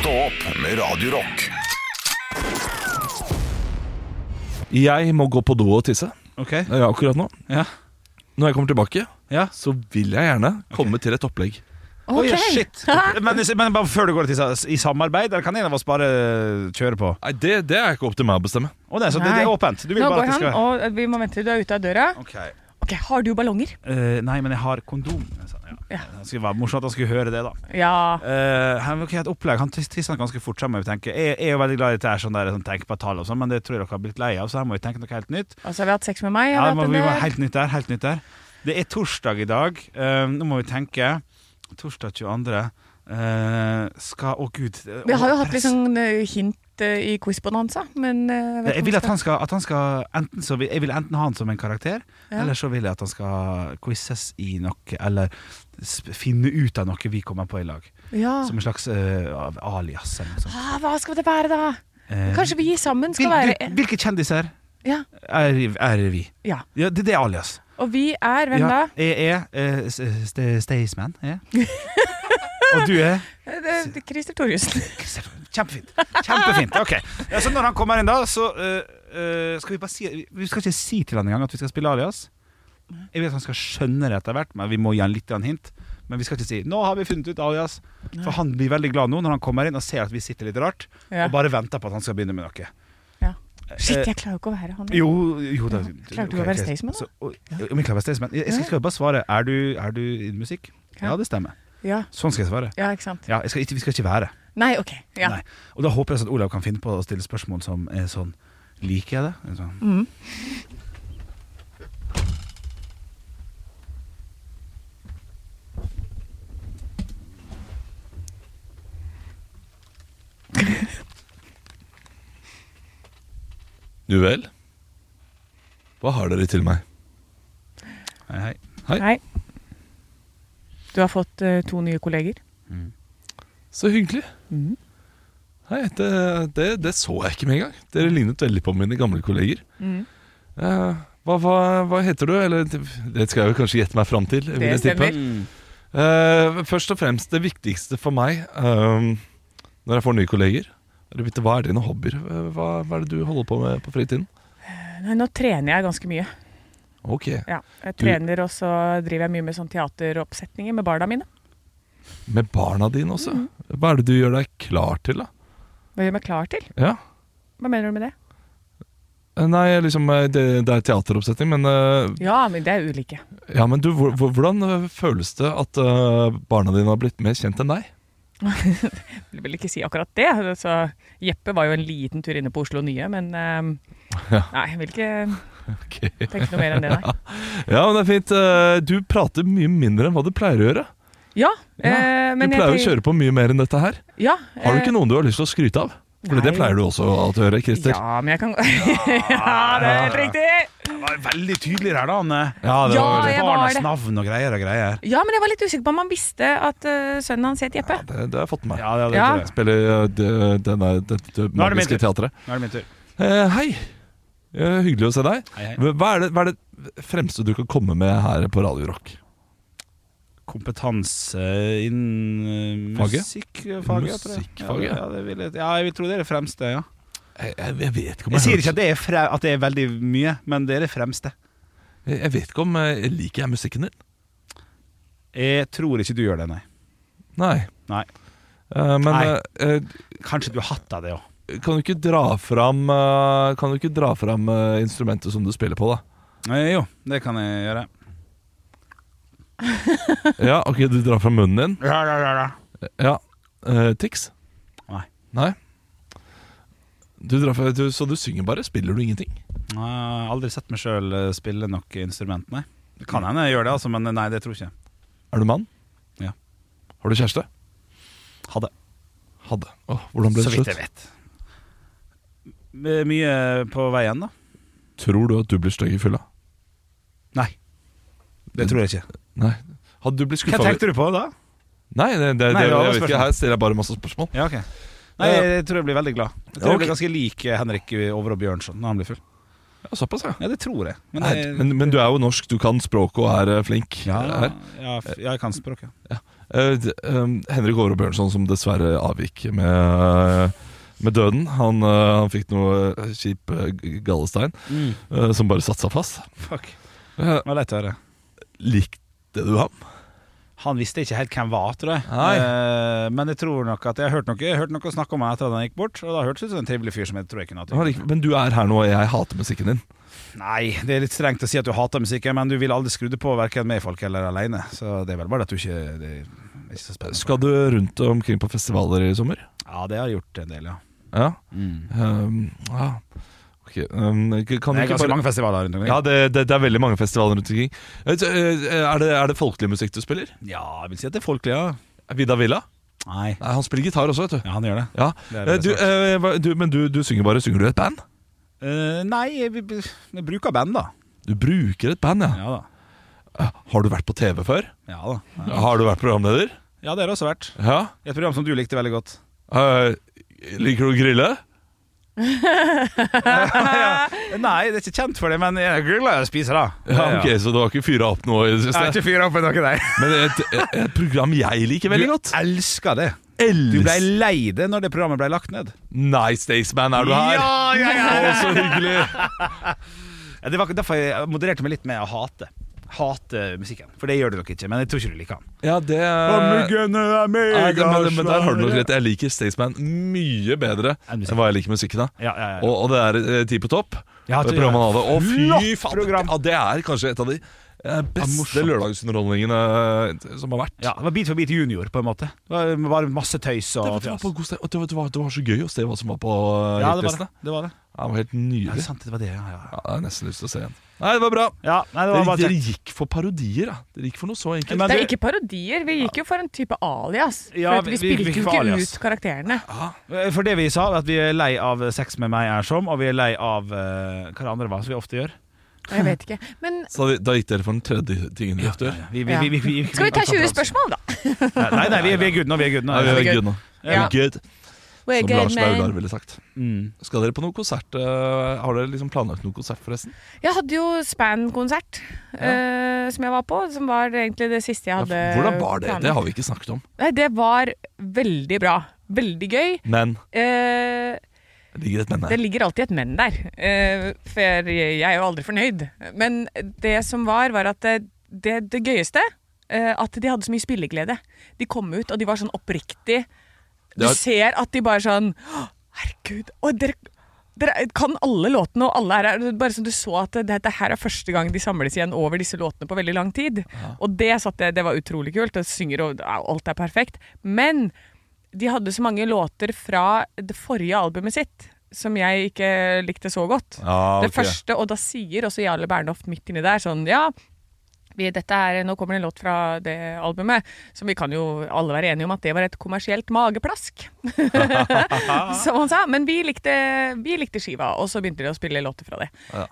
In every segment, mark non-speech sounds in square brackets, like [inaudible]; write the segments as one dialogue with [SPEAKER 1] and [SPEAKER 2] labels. [SPEAKER 1] Stå opp med Radio Rock.
[SPEAKER 2] Jeg må gå på do og tisse
[SPEAKER 3] Ok,
[SPEAKER 2] Det gjør jeg akkurat nå.
[SPEAKER 3] ja.
[SPEAKER 2] Når jeg kommer tilbake,
[SPEAKER 3] ja.
[SPEAKER 2] så vil jeg gjerne komme til et opplegg.
[SPEAKER 3] Oi,
[SPEAKER 4] [laughs]
[SPEAKER 3] shit. Men, men bare før du går til sa- i samarbeid, eller kan en av oss bare kjøre på?
[SPEAKER 2] Nei, Det, det er ikke opp til meg å bestemme.
[SPEAKER 3] Å nei, så det, det er
[SPEAKER 4] Nei.
[SPEAKER 3] åpent. Du vil
[SPEAKER 4] Nå
[SPEAKER 3] bare
[SPEAKER 4] går
[SPEAKER 3] at det
[SPEAKER 4] han,
[SPEAKER 3] skal være
[SPEAKER 4] og eh, vi må vente til du er ute av døra.
[SPEAKER 3] Ok.
[SPEAKER 4] Ok, Har du ballonger?
[SPEAKER 3] Eh, nei, men jeg har kondom. sa han, Ja. Det skulle være morsomt at han skulle høre det, da.
[SPEAKER 4] Ja.
[SPEAKER 3] Eh, han okay, et opplegg, han tis- tisser ganske fort, så jeg må jo tenke Jeg, jeg er jo veldig glad i dette her, sånn der, sånn, tenk på tall og sånn, men det tror jeg dere har blitt lei av, så her må vi tenke noe helt nytt.
[SPEAKER 4] Og så altså, har vi hatt sex med meg.
[SPEAKER 3] Ja,
[SPEAKER 4] har
[SPEAKER 3] det
[SPEAKER 4] vi
[SPEAKER 3] må, vi
[SPEAKER 4] hatt en eh,
[SPEAKER 3] må
[SPEAKER 4] del.
[SPEAKER 3] helt nytt der, helt nytt der. Det er torsdag i dag. Eh, nå må vi tenke. Torsdag 22. Eh, skal Å, gud. eh,
[SPEAKER 4] vi har jo
[SPEAKER 3] å,
[SPEAKER 4] hatt litt sånn eh, hint eh, i Quizbonanza, men eh, jeg vet
[SPEAKER 3] Jeg vil
[SPEAKER 4] ikke
[SPEAKER 3] at
[SPEAKER 4] om
[SPEAKER 3] han skal, at han skal enten så vil, Jeg vil enten ha han som en karakter,
[SPEAKER 4] Ja.
[SPEAKER 3] eller så vil jeg at han skal quizes i noe, eller sp finne ut av noe vi kommer på i lag.
[SPEAKER 4] skal- ja.
[SPEAKER 3] Som en slags eh, av- alias eller noe sånt.
[SPEAKER 4] ah, Hva skal det være, da?
[SPEAKER 3] Eh,
[SPEAKER 4] Kanskje vi sammen skal
[SPEAKER 3] hvil-
[SPEAKER 4] være
[SPEAKER 3] hvil- Hvilke kjendiser
[SPEAKER 4] Ja.
[SPEAKER 3] er, er vi?
[SPEAKER 4] ja.
[SPEAKER 3] Ja, det, det er alias.
[SPEAKER 4] Og vi er Hvem
[SPEAKER 3] ja,
[SPEAKER 4] da?
[SPEAKER 3] Jeg er eh, s- st Staysman. jeg. [laughs] Og du er
[SPEAKER 4] Eh, det er Christer Thorjussen. [laughs]
[SPEAKER 3] Kjempefint. Kjempefint, ok ja, Så når han kommer inn, da, så eh, eh, skal vi bare si Vi skal ikke si til han engang at vi skal spille alias. Jeg vet at han skal skjønne det etter hvert, men vi må gi han litt grann hint. Men vi skal ikke si 'Nå har vi funnet ut alias'. For han blir veldig glad nå når han kommer inn og ser at vi sitter litt rart,
[SPEAKER 4] Ja.
[SPEAKER 3] og bare venter på at han skal begynne med noe.
[SPEAKER 4] Ja. Shit,
[SPEAKER 3] Eh,
[SPEAKER 4] jeg klarer jo ikke å være han.
[SPEAKER 3] Jo, jo da
[SPEAKER 4] Klarer du å være Staysman, da?
[SPEAKER 3] Så, og, om jeg klarer å være Staysman? Jeg, jeg skal, skal bare svare Er du, er du i musikk?
[SPEAKER 4] Ja.
[SPEAKER 3] Ja, det stemmer.
[SPEAKER 4] Ja,
[SPEAKER 3] Sånn skal jeg svare.
[SPEAKER 4] ja ikke sant.
[SPEAKER 3] Ja, jeg skal ikke, vi skal ikke være.
[SPEAKER 4] Nei, OK. Ja.
[SPEAKER 3] Nei. Og da håper jeg sånn at Olav kan finne på å stille spørsmål som er sånn Liker jeg det? En Sånn.
[SPEAKER 4] Mm.
[SPEAKER 2] Du vel? Hva har dere til meg?
[SPEAKER 3] Hei, hei.
[SPEAKER 4] Nei. Du har fått eh, to nye kolleger.
[SPEAKER 2] Så hyggelig.
[SPEAKER 4] Mhm.
[SPEAKER 2] Hei, det, det, det så jeg ikke med en gang.
[SPEAKER 4] Mhm.
[SPEAKER 2] Dere lignet veldig på mine gamle kolleger. Eh, hva, hva, hva heter du? Eller det skal jeg jo kanskje gjette meg fram til. vil
[SPEAKER 4] Det
[SPEAKER 2] jeg tippe.
[SPEAKER 4] stemmer.
[SPEAKER 2] Eh, først og fremst det viktigste for meg eh, når jeg får nye kolleger, er å vite hva er dine hobbyer. Eh, Hva, hva er det du holder på med på fritiden?
[SPEAKER 4] Nei, Eh, nå trener jeg ganske mye.
[SPEAKER 2] Ok,
[SPEAKER 4] Ja, jeg
[SPEAKER 2] Du-
[SPEAKER 4] trener, og så driver jeg mye med sånn teateroppsetninger med barna mine.
[SPEAKER 2] Med barna dine også?
[SPEAKER 4] Mhm.
[SPEAKER 2] Hva er det du gjør deg klar til, da?
[SPEAKER 4] Hva gjør jeg meg klar til?
[SPEAKER 2] Ja.
[SPEAKER 4] Hva mener du med det?
[SPEAKER 2] Eh, Nei, liksom, eh, det, det er teateroppsetning, men eh,
[SPEAKER 4] Ja, men det er ulike.
[SPEAKER 2] Ja, men du, hvor- hvor- hvordan eh, føles det at eh, barna dine har blitt mer kjent enn deg?
[SPEAKER 4] Jeg vil vel ikke si akkurat det. Så Jeppe var jo en liten tur inne på Oslo Nye, men ehm,
[SPEAKER 2] Ja.
[SPEAKER 4] Nei, jeg vil ikke tenke noe mer enn det, nei.
[SPEAKER 2] [laughs] Ja, men det er fint. eh, Du prater mye mindre enn hva du pleier å gjøre.
[SPEAKER 4] Ja,
[SPEAKER 2] Ja,
[SPEAKER 4] eh, men
[SPEAKER 2] du pleier å kjøre på mye mer enn dette her.
[SPEAKER 4] ja, eh,
[SPEAKER 2] Har du ikke noen du har lyst til å skryte av? For det
[SPEAKER 4] nei.
[SPEAKER 2] pleier du også å gjøre, Christer.
[SPEAKER 4] Ja, men jeg kan [laughs] Ja, det er helt riktig!
[SPEAKER 3] Det var veldig tydelig der, da, Anne.
[SPEAKER 2] Ja, det
[SPEAKER 4] Ja,
[SPEAKER 2] var
[SPEAKER 4] jeg var
[SPEAKER 3] Barnas
[SPEAKER 4] det.
[SPEAKER 3] navn og greier og greier.
[SPEAKER 4] Ja, men jeg var litt usikker på om han visste at eh, sønnen hans het Jeppe.
[SPEAKER 2] det, det har jeg fått med meg.
[SPEAKER 3] Ja, det, det,
[SPEAKER 4] Ja.
[SPEAKER 3] tror jeg.
[SPEAKER 2] Spiller uh, det, denne, det, det
[SPEAKER 3] Nå er det min
[SPEAKER 2] magiske
[SPEAKER 3] tur.
[SPEAKER 2] teatret.
[SPEAKER 3] Nå er det min tur.
[SPEAKER 2] Eh, hei! Eh, hyggelig å se deg.
[SPEAKER 3] Hei, hei.
[SPEAKER 2] Hva er, det, hva er det fremste du kan komme med her på Radio Rock?
[SPEAKER 3] Kompetanse innen eh,
[SPEAKER 2] Faget?
[SPEAKER 3] musikkfaget. jeg tror jeg.
[SPEAKER 2] Musikkfaget?
[SPEAKER 3] Ja, det, ja, det vil jeg, ja, jeg vil tro det er det fremste, ja.
[SPEAKER 2] Jeg, jeg, jeg vet ikke om
[SPEAKER 3] Jeg sier
[SPEAKER 2] jeg,
[SPEAKER 3] ikke at det er, fre at det er veldig mye, men det er det fremste.
[SPEAKER 2] jeg, jeg vet ikke om eh, liker jeg musikken din.
[SPEAKER 3] Jeg tror ikke du gjør det, nei.
[SPEAKER 2] Nei.
[SPEAKER 3] Nei.
[SPEAKER 2] Eh, men
[SPEAKER 3] Nei.
[SPEAKER 2] eh, eh,
[SPEAKER 3] Kanskje du har hatt av det òg.
[SPEAKER 2] kan du ikke dra fram, eh, kan du ikke dra fram eh, instrumentet som du spiller på, da?
[SPEAKER 3] [laughs] Eh, jo, det kan jeg gjøre.
[SPEAKER 2] Ja, ok, du drar fram munnen din.
[SPEAKER 3] Ja, ja, ja, ja.
[SPEAKER 2] Ja. Eh, tics?
[SPEAKER 3] Nei.
[SPEAKER 2] Nei? Du drar fra, du, så du synger bare? Spiller du ingenting?
[SPEAKER 3] Jeg har aldri sett meg sjøl spille nok instrument, nei. Det kan hende jeg gjør det, altså, men nei, det tror jeg ikke.
[SPEAKER 2] Er du mann?
[SPEAKER 3] Ja.
[SPEAKER 2] Har du kjæreste?
[SPEAKER 3] Ha det.
[SPEAKER 2] hadde. Åh, hvordan ble det
[SPEAKER 3] Så vidt jeg
[SPEAKER 2] slutt?
[SPEAKER 3] vet. M- Mye på veien, da?
[SPEAKER 2] Tror du at du blir stygg i fylla?
[SPEAKER 3] Nei. Det tror jeg ikke.
[SPEAKER 2] Nei. Hadde du blitt
[SPEAKER 3] Hva
[SPEAKER 2] skuffa?
[SPEAKER 3] tenkte du på da?
[SPEAKER 2] Nei, det, det, det,
[SPEAKER 3] Nei, det var
[SPEAKER 2] jeg vet
[SPEAKER 3] bare
[SPEAKER 2] ikke.
[SPEAKER 3] spørsmål.
[SPEAKER 2] Her stiller jeg bare masse spørsmål.
[SPEAKER 3] Ja, ok Nei, jeg tror jeg blir veldig glad. Jeg tror jeg
[SPEAKER 2] Ok.
[SPEAKER 3] blir ganske lik eh, Henrik Over og Bjørnson når han blir full.
[SPEAKER 2] Ja, såpass, ja.
[SPEAKER 3] Ja, det tror jeg. Men,
[SPEAKER 2] Nei,
[SPEAKER 3] jeg-
[SPEAKER 2] men, men du er jo norsk, du kan språket og er eh, flink.
[SPEAKER 3] ja,
[SPEAKER 2] her.
[SPEAKER 3] ja, f- ja, jeg kan språket.
[SPEAKER 2] Eh, d- ehm, Henrik Aare Bjørnson, som dessverre avgikk med, eh, med døden. Han, eh, han fikk noe eh, kjip eh, g- gallestein
[SPEAKER 3] Mm.
[SPEAKER 2] eh, som bare satte seg fast.
[SPEAKER 3] Fuck.
[SPEAKER 2] Eh,
[SPEAKER 3] Det var leit å høre.
[SPEAKER 2] Likte du ham?
[SPEAKER 3] Han visste ikke helt hvem var, tror jeg.
[SPEAKER 2] Nei.
[SPEAKER 3] Eh, men jeg tror nok at jeg har hørt noe, jeg har hørt noe snakke om han etter at han gikk bort. Og da hørtes det ut som en trivelig fyr som jeg tror jeg kunne hatt.
[SPEAKER 2] Han var lik- Men du er her nå, og jeg hater musikken din.
[SPEAKER 3] Nei, det er litt strengt å si at du hater musikken, men du vil aldri skru det på verken med folk eller alene. Så det er vel bare at du ikke Det er ikke så spennende.
[SPEAKER 2] Skal du rundt omkring på festivaler i sommer?
[SPEAKER 3] Ja, det har jeg gjort en del, ja.
[SPEAKER 2] Ja. Ehm, ja. Ok, ehm, k- kan
[SPEAKER 3] Mm. Det
[SPEAKER 2] du
[SPEAKER 3] er
[SPEAKER 2] ikke
[SPEAKER 3] ganske
[SPEAKER 2] bare
[SPEAKER 3] mange festivaler rundt omkring.
[SPEAKER 2] ja, det, det, det er veldig mange festivaler rundt omkring. Eh, så, eh, Er det, er det folkelig musikk du spiller?
[SPEAKER 3] Ja, jeg vil si at det er folkelig, ja.
[SPEAKER 2] Vida Villa?
[SPEAKER 3] Nei.
[SPEAKER 2] Nei, han spiller gitar også, vet du.
[SPEAKER 3] Ja, han gjør det.
[SPEAKER 2] Ja.
[SPEAKER 3] Det er
[SPEAKER 2] Eh,
[SPEAKER 3] veldig
[SPEAKER 2] Du, eh, hva- du, men du, du synger bare. Synger du i et band?
[SPEAKER 3] Eh, nei, jeg, vil- jeg bruker band, da.
[SPEAKER 2] Du bruker et band, ja.
[SPEAKER 3] Ja da.
[SPEAKER 2] Har du vært på TV før?
[SPEAKER 3] Ja, da. Ja.
[SPEAKER 2] Har du vært programleder?
[SPEAKER 3] ja, det har det også vært.
[SPEAKER 2] Ja.
[SPEAKER 3] Et program som du likte veldig godt.
[SPEAKER 2] Eh, liker du å grille?
[SPEAKER 3] Eh, Nei, det er ikke kjent for det, men jeg er glad i å spise, da.
[SPEAKER 2] Ja, [laughs] ok, Så du har ikke fyra opp noe i det
[SPEAKER 3] Jeg har
[SPEAKER 2] siste?
[SPEAKER 3] ikke fyrt opp med noe der.
[SPEAKER 2] Men et, et, et program jeg liker veldig godt.
[SPEAKER 3] Du elsker det. Du ble
[SPEAKER 2] Elvis.
[SPEAKER 3] lei det når det programmet ble lagt ned.
[SPEAKER 2] Nice Staysman, er du her?
[SPEAKER 3] Ja, ja, ja,
[SPEAKER 2] Å, så hyggelig.
[SPEAKER 3] Ja, Det var derfor jeg modererte meg litt med å hate. Hate musikken. For det gjør du nok ikke, men jeg tror ikke du liker den.
[SPEAKER 2] Ja, det er Nei, det, men, men der har du nok rett. Jeg liker Staysman mye bedre
[SPEAKER 3] Enn
[SPEAKER 2] enn
[SPEAKER 3] musikken.
[SPEAKER 2] hva jeg liker musikken av.
[SPEAKER 3] Ja, ja, ja.
[SPEAKER 2] Og, og det er eh, Ti på topp.
[SPEAKER 3] Ja,
[SPEAKER 2] det
[SPEAKER 3] det
[SPEAKER 2] programmet han
[SPEAKER 3] er
[SPEAKER 2] hadde. Å, fy
[SPEAKER 3] flott
[SPEAKER 2] faen!
[SPEAKER 3] program.
[SPEAKER 2] Ja, det er kanskje et av de eh, beste
[SPEAKER 3] morsomt.
[SPEAKER 2] lørdagsunderholdningene eh, som har vært.
[SPEAKER 3] Ja, det var Beat for beat junior, på en måte. Det var bare masse tøys
[SPEAKER 2] Det, var,
[SPEAKER 3] og
[SPEAKER 2] det, var
[SPEAKER 3] fjas.
[SPEAKER 2] på god sted, og det, var, det, var, det var så gøy å se hva som var på eh,
[SPEAKER 3] Ja, det var det.
[SPEAKER 2] hitlistene.
[SPEAKER 3] det,
[SPEAKER 2] Ja, det var
[SPEAKER 3] var det.
[SPEAKER 2] helt
[SPEAKER 3] Ja, det, er
[SPEAKER 2] nydelig.
[SPEAKER 3] sant, det var det, ja, ja.
[SPEAKER 2] Ja, jeg har nesten lyst til å se igjen. Nei, det var bra.
[SPEAKER 3] ja nei, det
[SPEAKER 2] Dere,
[SPEAKER 3] var bare
[SPEAKER 2] dere
[SPEAKER 3] kjekt.
[SPEAKER 2] gikk for parodier, da. Dere gikk for noe så enkelt.
[SPEAKER 3] Men
[SPEAKER 4] Det er
[SPEAKER 3] du-
[SPEAKER 4] ikke parodier, vi gikk jo for en type alias.
[SPEAKER 3] Ja,
[SPEAKER 4] for at
[SPEAKER 3] vi-
[SPEAKER 4] vi
[SPEAKER 3] vi
[SPEAKER 4] spilte
[SPEAKER 3] gikk
[SPEAKER 4] jo
[SPEAKER 3] for
[SPEAKER 4] ikke
[SPEAKER 3] alias. Ah,
[SPEAKER 4] ut karakterene.
[SPEAKER 3] For det vi sa, var at vi er lei av Sex med meg er som, og vi er lei av eh, hva det andre var, som vi ofte gjør.
[SPEAKER 4] Jeg vet ikke. Men
[SPEAKER 2] Så da- da gikk dere for den tredje tingen dere gjør.
[SPEAKER 3] Vi,
[SPEAKER 4] Ja. skal vi ta 20 spørsmål, da?
[SPEAKER 3] Nei, nei, vi er, vi er good nå. Vi er good nå.
[SPEAKER 2] Nei, vi er
[SPEAKER 4] good.
[SPEAKER 2] good nå.
[SPEAKER 4] Ja.
[SPEAKER 2] Good,
[SPEAKER 4] We're
[SPEAKER 2] som Lars
[SPEAKER 4] good, man.
[SPEAKER 2] Vaular ville sagt.
[SPEAKER 3] Mm.
[SPEAKER 2] Skal dere på noen konsert? eh, Har dere liksom planlagt noen konsert, forresten?
[SPEAKER 4] Jeg hadde jo Span-konsert eh, som jeg var på, som var egentlig det siste jeg
[SPEAKER 2] Ja,
[SPEAKER 4] hadde
[SPEAKER 2] Hvordan var det?
[SPEAKER 4] planlagt.
[SPEAKER 2] Det har vi ikke snakket om.
[SPEAKER 4] Nei, det var veldig bra. Veldig gøy.
[SPEAKER 2] Men
[SPEAKER 4] Eh,
[SPEAKER 2] det ligger et men
[SPEAKER 4] det
[SPEAKER 2] her.
[SPEAKER 4] ligger alltid et men der, eh, for jeg er jo aldri fornøyd. Men det som var, var at det, det, det gøyeste eh, at de hadde så mye spilleglede. De kom ut, og de var sånn oppriktig Du
[SPEAKER 2] Det er-
[SPEAKER 4] ser at de bare sånn «Å, Herregud. Og dere, dere kan alle låtene, og alle er her. Bare som du så at det, dette her er første gang de samles igjen over disse låtene på veldig lang tid. Og det, satt, jeg- det var utrolig kult. Og synger, og ja, alt er perfekt. Men de hadde så mange låter fra det forrige albumet sitt som jeg ikke likte så godt.
[SPEAKER 2] Ja,
[SPEAKER 4] Det første, og da sier også Jarle Bernhoft midt inni der sånn Ja, vi, dette er, nå kommer det en låt fra det albumet, som vi kan jo alle være enige om at det var et kommersielt mageplask. [laughs] som han sa. Men vi likte, vi likte skiva, og så begynte de å spille låter fra det.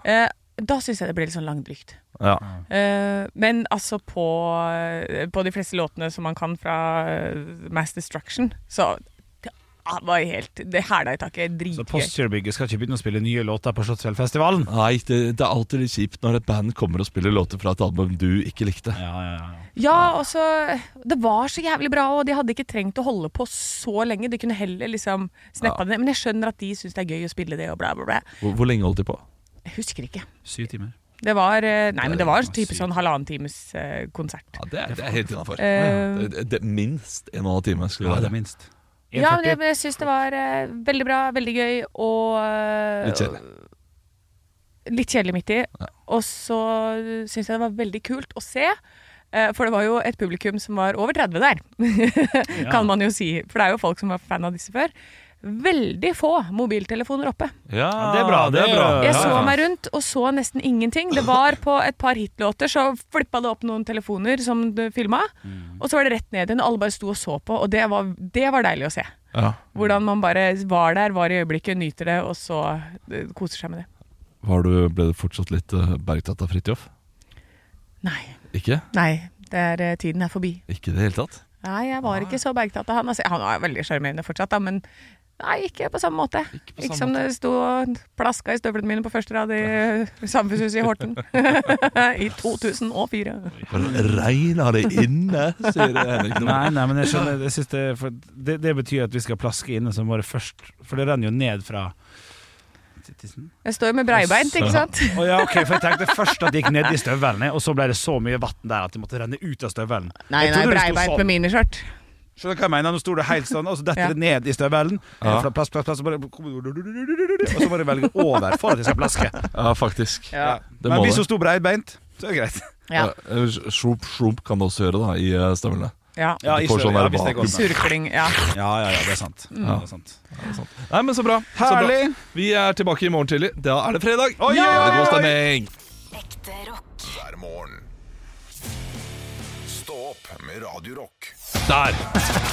[SPEAKER 4] Eh, da syns jeg det ble litt sånn langdrygt.
[SPEAKER 2] Ja.
[SPEAKER 4] Eh, men altså på, eh, på de fleste låtene som man kan fra eh, Mass Destruction, så det ah, var helt Det hæla i taket.
[SPEAKER 3] Så
[SPEAKER 4] Dritgøy.
[SPEAKER 3] Postgirobygget skal ikke begynne å spille nye låter på Slottsfjellfestivalen.
[SPEAKER 2] Nei, det, det er alltid litt kjipt når et band kommer og spiller låter fra et album du ikke likte.
[SPEAKER 3] Ja, ja, ja.
[SPEAKER 4] Ja, og så Det var så jævlig bra, og de hadde ikke trengt å holde på så lenge. De kunne heller liksom snappa det ned. Men jeg skjønner at de syns det er gøy å spille det, og bla, bla, bla.
[SPEAKER 2] Hvor, hvor lenge holdt de på?
[SPEAKER 4] Jeg husker ikke.
[SPEAKER 3] Syv timer.
[SPEAKER 4] Det var eh, Nei, men det var en type
[SPEAKER 3] Sykt.
[SPEAKER 4] sånn halvannen times eh, konsert.
[SPEAKER 2] Ja, Det er, det er helt innafor.
[SPEAKER 4] Eh.
[SPEAKER 2] Det, det, minst en og en halv time. skulle
[SPEAKER 3] Ja,
[SPEAKER 2] det
[SPEAKER 3] det
[SPEAKER 2] være.
[SPEAKER 3] minst.
[SPEAKER 4] Ja, men jeg, men jeg syns det var eh, veldig bra, veldig gøy og eh,
[SPEAKER 2] Litt kjedelig.
[SPEAKER 4] litt kjedelig midt i. Og så syns jeg det var veldig kult å se. eh, For det var jo et publikum som var over 30 der, [laughs] kan man jo si. For det er jo folk som var fan av disse før. Veldig få mobiltelefoner oppe.
[SPEAKER 2] Ja,
[SPEAKER 3] det er bra, det er bra.
[SPEAKER 4] Jeg
[SPEAKER 3] Ja,
[SPEAKER 4] så
[SPEAKER 3] ja.
[SPEAKER 4] meg rundt og så nesten ingenting. Det var på et par hitlåter, så flippa det opp
[SPEAKER 3] Mm.
[SPEAKER 4] noen telefoner som du filma. Og så var det rett ned igjen, og alle bare sto og så på. Og det var, det var deilig å se.
[SPEAKER 2] Ja.
[SPEAKER 3] Mm.
[SPEAKER 4] Hvordan man bare var der, var i øyeblikket, nyter det, og så eh, koser seg med det.
[SPEAKER 2] Var du, ble du fortsatt litt eh, bergtatt av Fridtjof?
[SPEAKER 4] Nei.
[SPEAKER 2] Ikke?
[SPEAKER 4] Nei. Det er, eh, tiden er forbi.
[SPEAKER 2] Ikke i det hele tatt?
[SPEAKER 4] Nei, jeg var ikke så bergtatt av han. Altså, han er veldig sjarmerende fortsatt, da, men nei, ikke på samme måte. Ikke,
[SPEAKER 2] på samme
[SPEAKER 4] som det sto og plaska i støvlene mine på første rad i eh, samfunnshuset i Horten i 2004.
[SPEAKER 2] Bare regna det inne, sier Henrik nå.
[SPEAKER 3] Nei, nei, men jeg skjønner jeg synes det, for det, det betyr at vi skal plaske inne som bare først For det renner jo ned fra tissen.
[SPEAKER 4] Jeg står jo med breibeint, ikke sant?
[SPEAKER 3] Å ja, ok, for jeg tenkte først at det gikk ned i støvelen Og så ble det så mye vatten der at det måtte renne ut av støvelen
[SPEAKER 4] Nei,
[SPEAKER 3] Jeg
[SPEAKER 4] nei,
[SPEAKER 3] trodde det sto
[SPEAKER 4] breibeint
[SPEAKER 3] sånn.
[SPEAKER 4] med miniskjørt.
[SPEAKER 3] Skjønner du hva jeg mener? Nå sto det helt sånn, og så detter
[SPEAKER 4] Ja.
[SPEAKER 3] det ned i støvelen
[SPEAKER 2] Ja.
[SPEAKER 3] Fra plass, plass, plass Og, bare, og så bare velge over for at jeg skal plaske
[SPEAKER 2] Ja, faktisk.
[SPEAKER 4] Ja.
[SPEAKER 2] Det
[SPEAKER 3] Men
[SPEAKER 2] må
[SPEAKER 3] hvis
[SPEAKER 2] det.
[SPEAKER 3] hun sto breibeint, så er det greit
[SPEAKER 4] Ja.
[SPEAKER 2] Eh, Slump, slump kan det også gjøre, da, i eh, støvlene.
[SPEAKER 4] ja.
[SPEAKER 2] Du får sånn der
[SPEAKER 3] hvis det går. sånn.
[SPEAKER 4] Surkling. Ja.
[SPEAKER 3] ja, ja, ja, det er sant, ja, det er sant.
[SPEAKER 2] Nei, men så bra. Så bra.
[SPEAKER 3] Herlig!
[SPEAKER 2] Vi er tilbake i morgen tidlig. Da er det fredag.
[SPEAKER 3] Oi,
[SPEAKER 2] Da er det
[SPEAKER 3] oi,
[SPEAKER 2] god
[SPEAKER 3] oi.
[SPEAKER 2] stemning.
[SPEAKER 5] Ekte rock.
[SPEAKER 1] hver morgen. Stå opp med Radio Rock.
[SPEAKER 2] Der!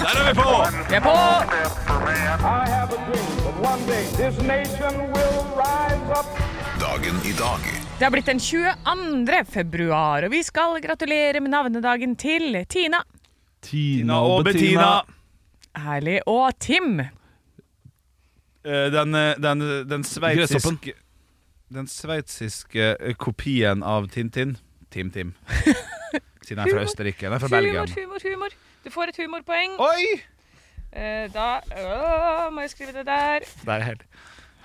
[SPEAKER 2] Der er vi på!
[SPEAKER 4] Vi er på!
[SPEAKER 6] I have a dream that one day this nation will rise up.
[SPEAKER 1] Dagen i dag
[SPEAKER 4] Det har blitt den 22. februar, og vi skal gratulere med navnedagen til Tina,
[SPEAKER 2] Tina
[SPEAKER 3] og Bettina
[SPEAKER 4] Herlig og Tim.
[SPEAKER 3] Eh, den, eh, den, den
[SPEAKER 2] Gresshoppen.
[SPEAKER 3] sveitsiske Den sveitsiske eh, kopien av Tintin. Tim Tim. Siden han er fra
[SPEAKER 4] Humor.
[SPEAKER 3] Østerrike. Han er fra Belgia.
[SPEAKER 4] humor, humor. Du får et humorpoeng.
[SPEAKER 3] Oi!
[SPEAKER 4] Eh, da å, må jeg skrive det der.
[SPEAKER 3] Der er helt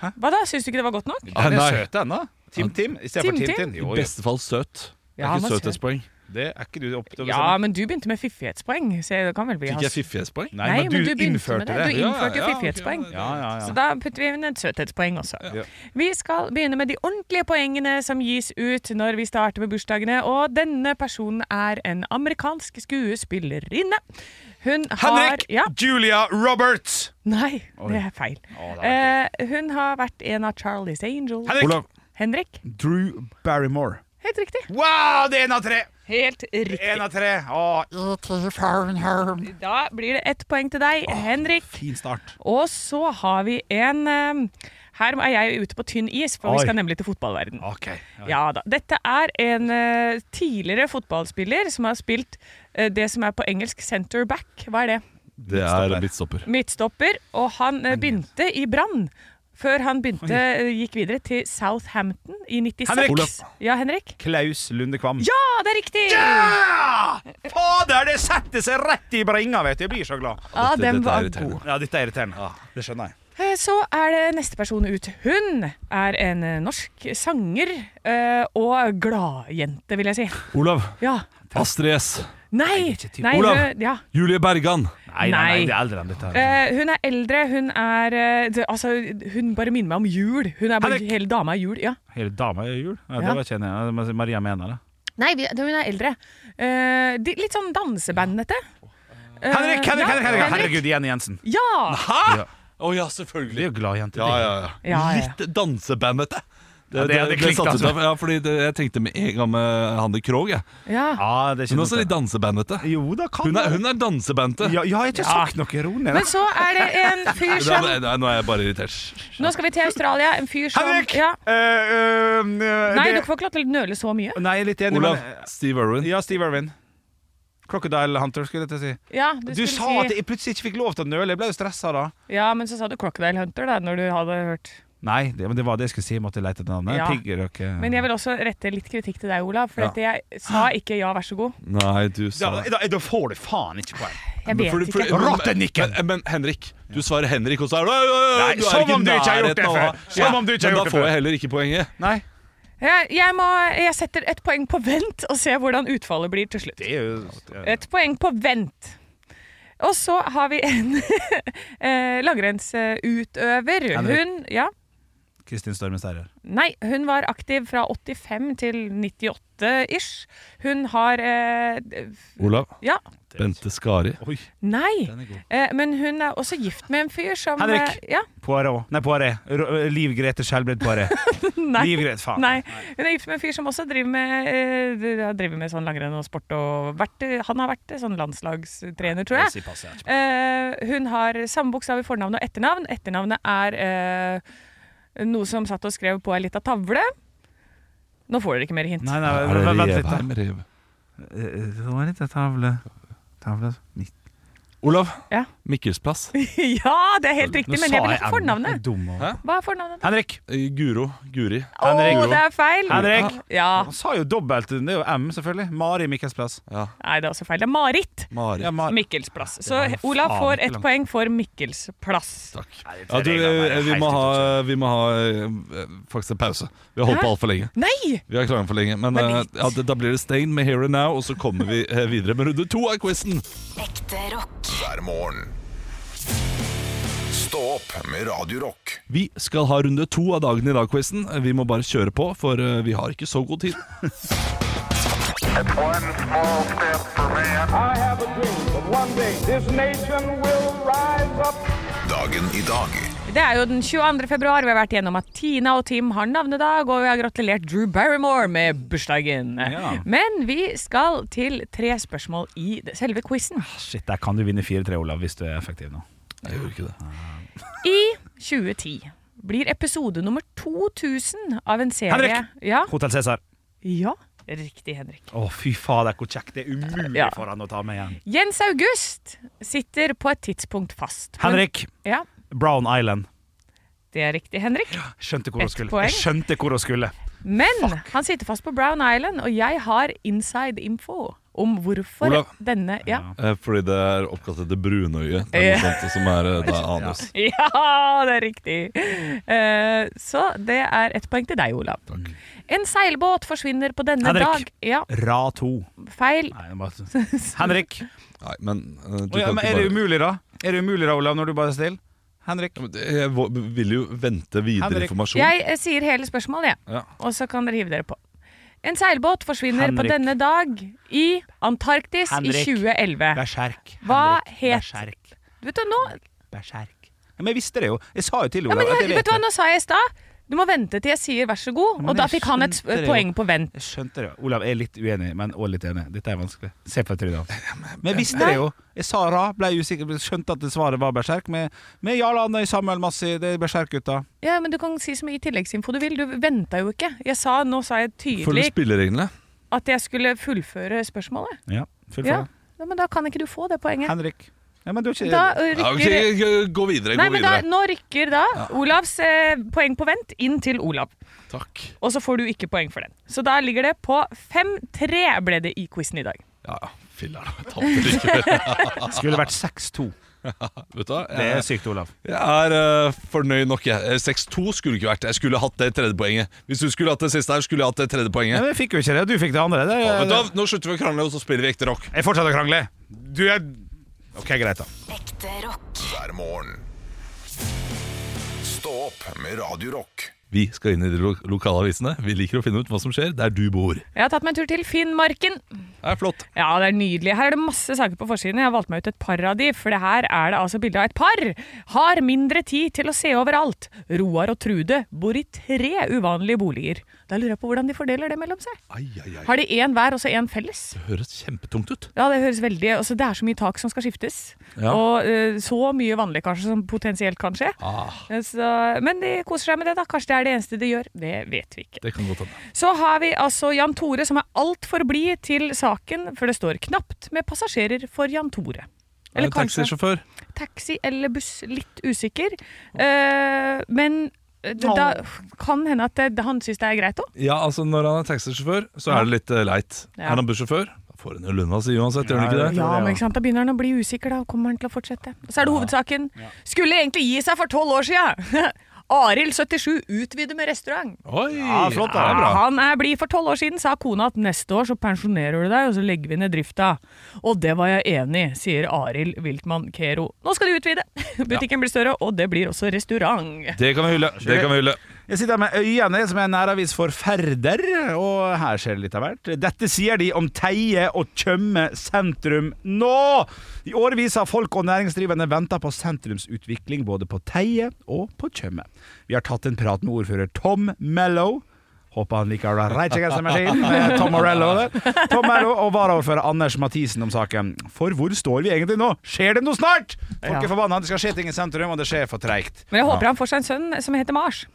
[SPEAKER 4] Hva da, syns du ikke det var godt nok?
[SPEAKER 2] Ah,
[SPEAKER 3] Den er
[SPEAKER 2] nei.
[SPEAKER 3] søt, den, da. Tim Tim
[SPEAKER 4] Tim
[SPEAKER 3] istedenfor Tim
[SPEAKER 4] Tim?
[SPEAKER 3] Tin. Jo, jo.
[SPEAKER 2] beste fall søt. Det
[SPEAKER 4] Ja,
[SPEAKER 2] er
[SPEAKER 4] han
[SPEAKER 2] ikke
[SPEAKER 4] var
[SPEAKER 2] søthetspoeng.
[SPEAKER 3] Det er ikke du opp til å
[SPEAKER 4] Ja,
[SPEAKER 3] bestemme.
[SPEAKER 4] men du begynte med fiffighetspoeng, så det kan vel bli
[SPEAKER 2] Fikk jeg
[SPEAKER 4] hans.
[SPEAKER 2] fiffighetspoeng?
[SPEAKER 3] Nei, men du,
[SPEAKER 4] begynte
[SPEAKER 3] innførte
[SPEAKER 4] med det.
[SPEAKER 3] det.
[SPEAKER 4] Du
[SPEAKER 2] Ja, ja,
[SPEAKER 4] innførte
[SPEAKER 2] ja,
[SPEAKER 4] fiffighetspoeng.
[SPEAKER 2] ok,
[SPEAKER 3] Ja, ja,
[SPEAKER 4] Så
[SPEAKER 3] ja.
[SPEAKER 4] da putter vi inn et søthetspoeng også.
[SPEAKER 3] Ja.
[SPEAKER 4] Vi skal begynne med de ordentlige poengene som gis ut når vi starter med bursdagene, og denne personen er en amerikansk skuespillerinne. Hun har
[SPEAKER 3] Henrik
[SPEAKER 4] Ja,
[SPEAKER 3] Julia Roberts!
[SPEAKER 4] nei, det er feil. Eh, hun har vært en av Charlies Angels.
[SPEAKER 3] Henrik!
[SPEAKER 2] Olav.
[SPEAKER 4] Henrik.
[SPEAKER 3] Drew Barrymore.
[SPEAKER 4] Helt riktig.
[SPEAKER 3] Wow, det er én av tre!
[SPEAKER 4] Helt riktig.
[SPEAKER 3] En av tre. Å,
[SPEAKER 4] Da blir det ett poeng til deg, Henrik.
[SPEAKER 3] fin start.
[SPEAKER 4] Og så har vi en eh, Her er jeg ute på tynn is, for
[SPEAKER 3] Oi.
[SPEAKER 4] vi skal nemlig til fotballverden.
[SPEAKER 3] OK.
[SPEAKER 4] Ja da. Dette er en eh, tidligere fotballspiller som har spilt eh, det som er på engelsk center back. Hva er det?
[SPEAKER 2] Det er midtstopper.
[SPEAKER 4] Midtstopper. Og han eh, begynte i Brann. Før han begynte, eh, gikk videre til Southampton i 96.
[SPEAKER 3] Henrik! Olav.
[SPEAKER 4] Ja, Henrik?
[SPEAKER 3] Klaus Lundekvam.
[SPEAKER 4] Ja, det er riktig!
[SPEAKER 3] Ja! Fader, det setter seg rett i bringa, vet du. Jeg blir så glad.
[SPEAKER 4] Ja,
[SPEAKER 2] Dette-
[SPEAKER 4] den
[SPEAKER 2] dette er
[SPEAKER 4] var
[SPEAKER 2] irriterende.
[SPEAKER 4] god.
[SPEAKER 3] Ja, dette er irriterende. det skjønner jeg.
[SPEAKER 4] Eh, Så er det neste person ut. Hun er en eh, norsk sanger eh, og gladjente, vil jeg si.
[SPEAKER 2] Olav.
[SPEAKER 4] Ja.
[SPEAKER 2] Astrid S.
[SPEAKER 4] Nei! Nei
[SPEAKER 2] Olav.
[SPEAKER 4] Hun, ja.
[SPEAKER 2] Julie Bergan.
[SPEAKER 3] Nei, nei, nei, det er eldre enn dette. her.
[SPEAKER 4] Eh, hun er eldre, hun er eh, det- Altså, hun bare minner meg om jul. Hun er bare
[SPEAKER 3] Henrik.
[SPEAKER 4] hele dama i jul. Ja.
[SPEAKER 3] Hele dama er jul. Ja,
[SPEAKER 4] Ja.
[SPEAKER 3] Det var ikke en ja, Maria mener det.
[SPEAKER 4] Nei, vi- hun er eldre. Eh, de, litt sånn dansebandete. Eh,
[SPEAKER 3] Henrik, Henrik,
[SPEAKER 4] ja,
[SPEAKER 3] Henrik, Henrik. Herregud, Jenny Jensen.
[SPEAKER 4] Ja!
[SPEAKER 2] Hæ?! Å ja.
[SPEAKER 3] Ja. Det
[SPEAKER 2] selvfølgelig.
[SPEAKER 3] er jo glad jente.
[SPEAKER 2] Ja,
[SPEAKER 3] det.
[SPEAKER 2] ja, ja.
[SPEAKER 4] Ja, ja.
[SPEAKER 2] Litt dansebandete.
[SPEAKER 3] Ja, det- det
[SPEAKER 2] ble
[SPEAKER 3] klikket,
[SPEAKER 2] satt ut
[SPEAKER 3] altså.
[SPEAKER 2] av- Ja, fordi det, jeg tenkte med en gang med Hanne Krogh. jeg.
[SPEAKER 4] ja.
[SPEAKER 3] ja, det er
[SPEAKER 2] Hun
[SPEAKER 3] ikke
[SPEAKER 2] er også litt dansebandete.
[SPEAKER 3] Jo da, kan
[SPEAKER 2] Hun er,
[SPEAKER 3] det.
[SPEAKER 2] hun er dansebandete.
[SPEAKER 3] Ja, ja, jeg har ikke sagt noe rolig.
[SPEAKER 4] Men så er det en fyr
[SPEAKER 2] Nei,
[SPEAKER 4] som
[SPEAKER 2] nei, nei, nå er jeg bare irritert.
[SPEAKER 4] Nå skal vi til Australia. En fyr som
[SPEAKER 3] Henrik!
[SPEAKER 4] Ja.
[SPEAKER 3] Eh, eh,
[SPEAKER 4] Nei,
[SPEAKER 3] det-
[SPEAKER 4] dere får ikke lov til å nøle så mye.
[SPEAKER 3] Nei, jeg er litt enig.
[SPEAKER 2] Olav.
[SPEAKER 3] men- eh,
[SPEAKER 2] Steve Irwin.
[SPEAKER 3] Ja, Steve Irwin. Crocodile Hunter, skulle jeg til å si.
[SPEAKER 4] Ja,
[SPEAKER 3] Du,
[SPEAKER 4] skulle
[SPEAKER 3] sa
[SPEAKER 4] si-
[SPEAKER 3] at jeg plutselig ikke fikk lov til å nøle. Jeg ble jo stressa da.
[SPEAKER 4] Ja, men så sa du Crocodile Hunter da, når du hadde hørt.
[SPEAKER 3] Nei, det, men det var det jeg skulle si. Jeg måtte lete etter navnet. eh.
[SPEAKER 4] Ja.
[SPEAKER 3] Piggerøkke.
[SPEAKER 4] Men jeg vil også rette litt kritikk til deg, Olav, for
[SPEAKER 3] Ja.
[SPEAKER 4] at jeg sa ikke ja, vær så god.
[SPEAKER 2] Nei, du sa
[SPEAKER 3] da, da, da får du faen ikke poeng.
[SPEAKER 4] Jeg
[SPEAKER 2] Men
[SPEAKER 4] vet
[SPEAKER 2] fordi- fordi-
[SPEAKER 4] ikke.
[SPEAKER 2] men-
[SPEAKER 3] Rottenikken!
[SPEAKER 2] Men, eh, men Henrik, du svarer Henrik, og så er du, «Øy, øy, øy,
[SPEAKER 3] Nei,
[SPEAKER 2] du er
[SPEAKER 3] som
[SPEAKER 2] ikke
[SPEAKER 3] om du ikke har
[SPEAKER 2] i
[SPEAKER 3] gjort det
[SPEAKER 2] nærheten av-
[SPEAKER 3] før. Som
[SPEAKER 2] Ja,
[SPEAKER 3] om du ikke har
[SPEAKER 2] men
[SPEAKER 3] gjort det
[SPEAKER 2] Da får
[SPEAKER 3] før.
[SPEAKER 2] jeg heller ikke poenget.
[SPEAKER 3] Nei,
[SPEAKER 4] Jeg, jeg, må, jeg setter et poeng på vent og ser hvordan utfallet blir til slutt.
[SPEAKER 3] det er jo ja.
[SPEAKER 4] Et poeng på vent. Og så [laughs] har vi en eh, langrennsutøver.
[SPEAKER 3] Henrik.
[SPEAKER 4] Hun Ja,
[SPEAKER 3] Kristin Stormen Sterrer.
[SPEAKER 4] Nei, hun var aktiv fra 85 til 98-ish. Hun har eh,
[SPEAKER 2] Olav.
[SPEAKER 4] Ja.
[SPEAKER 2] Bente Skari.
[SPEAKER 3] Oi,
[SPEAKER 4] Nei.
[SPEAKER 3] den er god.
[SPEAKER 4] Eh, men hun er også gift med en fyr som
[SPEAKER 3] Henrik.
[SPEAKER 4] eh, Ja,
[SPEAKER 3] Poirot. Nei, Poiré. Ro- eh, Liv Grete Skjelbred Poiré.
[SPEAKER 4] [laughs] nei.
[SPEAKER 3] Liv Grete, faen.
[SPEAKER 4] Nei, Hun er gift med en fyr som også driver med, eh, ja, driver med sånn langrenn og sport. Og vært, han har vært eh, sånn landslagstrener, tror jeg.
[SPEAKER 3] Si pass, jeg er ikke-
[SPEAKER 4] Eh, hun har samme bokstav i fornavn og etternavn. Etternavnet er eh, noe som satt og skrev på ei lita tavle. Nå får dere ikke mer hint.
[SPEAKER 3] Nei, nei,
[SPEAKER 2] Er
[SPEAKER 3] vent-
[SPEAKER 2] det
[SPEAKER 3] vent litt. da.
[SPEAKER 2] Revheim? Rev.
[SPEAKER 3] Eh, Det var litt av tavle. Tavle Nitt-
[SPEAKER 2] Olav.
[SPEAKER 4] Ja.
[SPEAKER 2] Mikkelsplass.
[SPEAKER 4] [laughs] ja, det er helt riktig,
[SPEAKER 3] Nå
[SPEAKER 4] men
[SPEAKER 3] sa
[SPEAKER 4] jeg
[SPEAKER 3] M.
[SPEAKER 4] vil ha
[SPEAKER 3] Jeg er
[SPEAKER 4] fornavnet.
[SPEAKER 3] dum, og-
[SPEAKER 2] Hæ?
[SPEAKER 4] Hva er fornavnet?
[SPEAKER 3] Henrik!
[SPEAKER 2] Eh, Guro. Guri.
[SPEAKER 4] Å,
[SPEAKER 3] Henrik.
[SPEAKER 4] det er feil! Ah,
[SPEAKER 3] Henrik.
[SPEAKER 4] Ja.
[SPEAKER 3] Han sa jo dobbelt. Det er jo M, selvfølgelig. Mari Mikkelsplass.
[SPEAKER 2] Ja.
[SPEAKER 4] Nei, det er også feil. Det er Marit
[SPEAKER 2] Mari.
[SPEAKER 3] Ja, Mari.
[SPEAKER 4] Mikkels plass. Så
[SPEAKER 3] var jo
[SPEAKER 4] Olav
[SPEAKER 3] faen
[SPEAKER 4] får
[SPEAKER 3] ikke
[SPEAKER 4] ett
[SPEAKER 3] langt.
[SPEAKER 4] poeng for Mikkels plass.
[SPEAKER 2] Takk.
[SPEAKER 3] det er
[SPEAKER 2] Ja, du,
[SPEAKER 3] reglene
[SPEAKER 2] eh,
[SPEAKER 3] er
[SPEAKER 2] vi,
[SPEAKER 3] helt
[SPEAKER 2] må ha,
[SPEAKER 3] ute
[SPEAKER 2] vi må ha eh, faktisk en pause. Vi har holdt
[SPEAKER 4] Hæ?
[SPEAKER 2] på altfor lenge.
[SPEAKER 4] Nei!
[SPEAKER 2] Vi har klaget for lenge Men
[SPEAKER 4] Men
[SPEAKER 2] eh,
[SPEAKER 4] litt.
[SPEAKER 2] ja, det- da blir det Stain med Here and Now, og så kommer vi eh, videre med runde to av quizen.
[SPEAKER 5] Ekte rock.
[SPEAKER 1] hver morgen. Stå opp med Radio Rock.
[SPEAKER 2] Vi skal ha runde to av dagen i dag, quizen. Vi må bare kjøre på, for eh, vi har ikke så god tid.
[SPEAKER 6] It's one small step for man. I have a dream that one day this nation will rise up.
[SPEAKER 1] Dagen i dag
[SPEAKER 4] Det er jo den 22. februar. Vi har vært gjennom at Tina og Tim har navnedag, og vi har gratulert Drew Barrymore med bursdagen.
[SPEAKER 3] Ja.
[SPEAKER 4] Men vi skal til tre spørsmål i det- selve quizen.
[SPEAKER 3] Shit, der kan du vinne 4-3, Olav, hvis du er effektiv nå.
[SPEAKER 2] Jeg gjorde ikke det.
[SPEAKER 4] I 2010 blir episode nummer 2000 av en serie
[SPEAKER 3] Henrik!
[SPEAKER 4] Ja,
[SPEAKER 3] Hotell Cæsar.
[SPEAKER 4] ja. Riktig, Henrik.
[SPEAKER 3] Å, fy fader, hvor kjekt. Det er umulig
[SPEAKER 4] Ja.
[SPEAKER 3] for han å ta med igjen.
[SPEAKER 4] Jens August sitter på et tidspunkt fast. Men-
[SPEAKER 3] Henrik.
[SPEAKER 4] Ja,
[SPEAKER 3] Brown Island.
[SPEAKER 4] det er riktig, Henrik.
[SPEAKER 3] Skjønte hvor hun
[SPEAKER 4] Ett
[SPEAKER 3] skulle.
[SPEAKER 4] poeng.
[SPEAKER 3] Jeg skjønte hvor hun skulle.
[SPEAKER 4] Men han sitter fast på Brown Island, og jeg har inside info om hvorfor
[SPEAKER 2] Olav.
[SPEAKER 4] denne Ja.
[SPEAKER 2] [laughs] Eh, Fordi det er oppkalt etter brunøyet. Det er noe sånt som er, eh, det er anus.
[SPEAKER 4] [laughs] Ja, det er riktig. Eh, så det er ett poeng til deg, Olav. En seilbåt forsvinner på denne
[SPEAKER 3] Henrik.
[SPEAKER 4] dag Ja,
[SPEAKER 3] Ra 2.
[SPEAKER 4] feil.
[SPEAKER 3] Nei, det er bare... Henrik.
[SPEAKER 2] Nei, men eh, du
[SPEAKER 3] Å, ja,
[SPEAKER 2] kan
[SPEAKER 3] men
[SPEAKER 2] ikke
[SPEAKER 3] er det
[SPEAKER 2] bare
[SPEAKER 3] umulig, da? Er det umulig, da, Olav, når du bare er stille? Henrik.
[SPEAKER 2] Ja, men det- Jeg vå- vil jo vente videre
[SPEAKER 3] Henrik.
[SPEAKER 2] informasjon.
[SPEAKER 4] Jeg eh, sier hele spørsmålet, jeg.
[SPEAKER 2] Ja.
[SPEAKER 4] Og så kan dere hive dere på. En seilbåt forsvinner på
[SPEAKER 3] Henrik.
[SPEAKER 4] denne dag i Antarktis
[SPEAKER 3] Henrik.
[SPEAKER 4] i 2011.
[SPEAKER 3] Berserk.
[SPEAKER 4] Hva
[SPEAKER 3] Henrik.
[SPEAKER 4] het-
[SPEAKER 3] Berserk.
[SPEAKER 4] Vet du, nå,
[SPEAKER 3] Berserk. Ja, men jeg visste det jo. Jeg sa jo til
[SPEAKER 4] ja,
[SPEAKER 3] Olav
[SPEAKER 4] men
[SPEAKER 3] at
[SPEAKER 4] jeg,
[SPEAKER 3] jeg
[SPEAKER 4] vet du hva,
[SPEAKER 3] det.
[SPEAKER 4] nå sa jeg i stad Du må vente til jeg sier vær så god,
[SPEAKER 3] men
[SPEAKER 4] og da
[SPEAKER 3] jeg
[SPEAKER 4] fikk han et
[SPEAKER 3] skjønte det
[SPEAKER 4] sp-
[SPEAKER 3] jo.
[SPEAKER 4] poeng på vent.
[SPEAKER 3] Jeg skjønte det. Olav er litt uenig, men også litt enig. Dette er vanskelig. Se på trynet hans. Men jeg visste det jo. Jeg sa Ra, ble usikker, ble- skjønte at det svaret var berserk. Med, med Jarl Andøy, Samuel Massi, det er berserk-gutta.
[SPEAKER 4] Ja, men Du kan si så mye tilleggsinfo du vil. Du venta jo ikke. Jeg sa, Nå sa jeg
[SPEAKER 2] Følg
[SPEAKER 4] tydelig
[SPEAKER 2] spillereglene.
[SPEAKER 4] at jeg skulle fullføre spørsmålet.
[SPEAKER 3] Ja, full
[SPEAKER 4] Ja.
[SPEAKER 3] ja.
[SPEAKER 4] Ja, men da kan ikke du få det poenget.
[SPEAKER 3] Henrik. Ja, men du er ikke
[SPEAKER 4] Da ø,
[SPEAKER 2] Ja, ok,
[SPEAKER 4] rykker
[SPEAKER 2] g- gå videre.
[SPEAKER 4] Nei,
[SPEAKER 2] Gå
[SPEAKER 4] men da,
[SPEAKER 2] videre.
[SPEAKER 4] nå rykker da Olavs eh, poeng på vent inn til Olav.
[SPEAKER 2] Takk.
[SPEAKER 4] Og så får du ikke poeng for den. Så da ligger det på 5-3 ble det i quizen i dag.
[SPEAKER 2] Ja, ja. filler'n. Jeg tapte [laughs] likevel.
[SPEAKER 3] Skulle vært 6-2.
[SPEAKER 2] Vet du hva?
[SPEAKER 3] Det
[SPEAKER 2] Jeg-
[SPEAKER 3] er sykt, Olav.
[SPEAKER 2] Jeg er eh, fornøyd nok. jeg. Eh, 6-2 skulle ikke vært. Jeg skulle hatt det tredje poenget. Hvis du skulle hatt det siste her, skulle jeg hatt det tredje
[SPEAKER 3] Ja,
[SPEAKER 2] poenget.
[SPEAKER 3] men jeg fikk jo ikke det. Du fikk det andre. Det,
[SPEAKER 2] Ja,
[SPEAKER 3] er-
[SPEAKER 2] men da, nå slutter vi å krangle, og så spiller vi ekte rock.
[SPEAKER 3] Jeg fortsetter å krangle. Du er OK, greit, da.
[SPEAKER 5] Ekte rock.
[SPEAKER 1] hver morgen. Stå opp med Radio Rock.
[SPEAKER 2] Vi skal inn i de lo lokalavisene. Vi liker å finne ut hva som skjer der du bor. Det
[SPEAKER 4] Jeg har tatt meg en tur til Finnmarken.
[SPEAKER 2] er flott.
[SPEAKER 4] Ja, det er nydelig. Her er det masse saker på forsiden. Jeg har valgt meg ut et par av de, for det her er det altså bilde av et par. Har mindre tid til å se overalt. Roar og Trude bor i tre uvanlige boliger. Da lurer jeg på hvordan de fordeler det mellom seg.
[SPEAKER 2] Ai, ai, ai.
[SPEAKER 4] Har de én hver og så én felles?
[SPEAKER 2] Det høres kjempetungt ut.
[SPEAKER 4] Ja, det høres veldig altså, Det er så mye tak som skal skiftes.
[SPEAKER 2] Ja.
[SPEAKER 4] Og eh, så mye vanlig kanskje som potensielt kan skje.
[SPEAKER 2] Ah.
[SPEAKER 4] Eh, Så, men de koser seg med det, da. Kanskje det er det eneste de gjør. Det vet vi ikke.
[SPEAKER 2] Det kan godt hende.
[SPEAKER 4] Så har vi altså Jan Tore som er altfor blid til saken, for det står knapt med passasjerer for Jan Tore.
[SPEAKER 2] Jeg er taxisjåfør.
[SPEAKER 4] taxi eller buss, litt usikker. Eh, men eh, det, da kan hende at det, han syns det er greit òg.
[SPEAKER 2] Ja, altså Når han er taxisjåfør, så er det litt eh, leit.
[SPEAKER 4] Ja.
[SPEAKER 2] Er han bussjåfør, da får han jo lønna si uansett. gjør han ikke det?
[SPEAKER 4] Ja, men ikke sant? Da begynner han å bli usikker, da. Kommer han til å fortsette? Og så er det hovedsaken. Skulle egentlig gi seg for tolv år sia! [laughs] Arild 77 utvider med restaurant.
[SPEAKER 2] Oi,
[SPEAKER 3] Ja, flott, da.
[SPEAKER 2] det er bra.
[SPEAKER 4] Han er blid for tolv år siden, sa kona at neste år så pensjonerer du deg, og så legger vi ned drifta. Og det var jeg enig i, sier Arild Wiltmann [laughs] Kero. Nå skal de utvide! Butikken blir større, og det blir også restaurant.
[SPEAKER 2] Det kan vi hylle. Det kan vi hylle.
[SPEAKER 3] Jeg sitter her med Øyene, som er en næravis for Færder, og her skjer det litt av hvert. Dette sier de om Teie og Tjøme sentrum nå! I årevis har folk og næringsdrivende venta på sentrumsutvikling både på Teie og på Tjøme. Vi har tatt en prat med ordfører Tom Mellow. Håper han liker Reitjegerstemmeskinn med Tom Morello. Der. Tom Morello og varaordfører Anders Mathisen om saken. For hvor står vi egentlig nå? Skjer det noe snart?! Folk
[SPEAKER 4] Ja.
[SPEAKER 3] er forbanna. Det skal skje ting i sentrum, og det skjer for treigt.
[SPEAKER 4] Men jeg håper han får seg en sønn som heter Mars.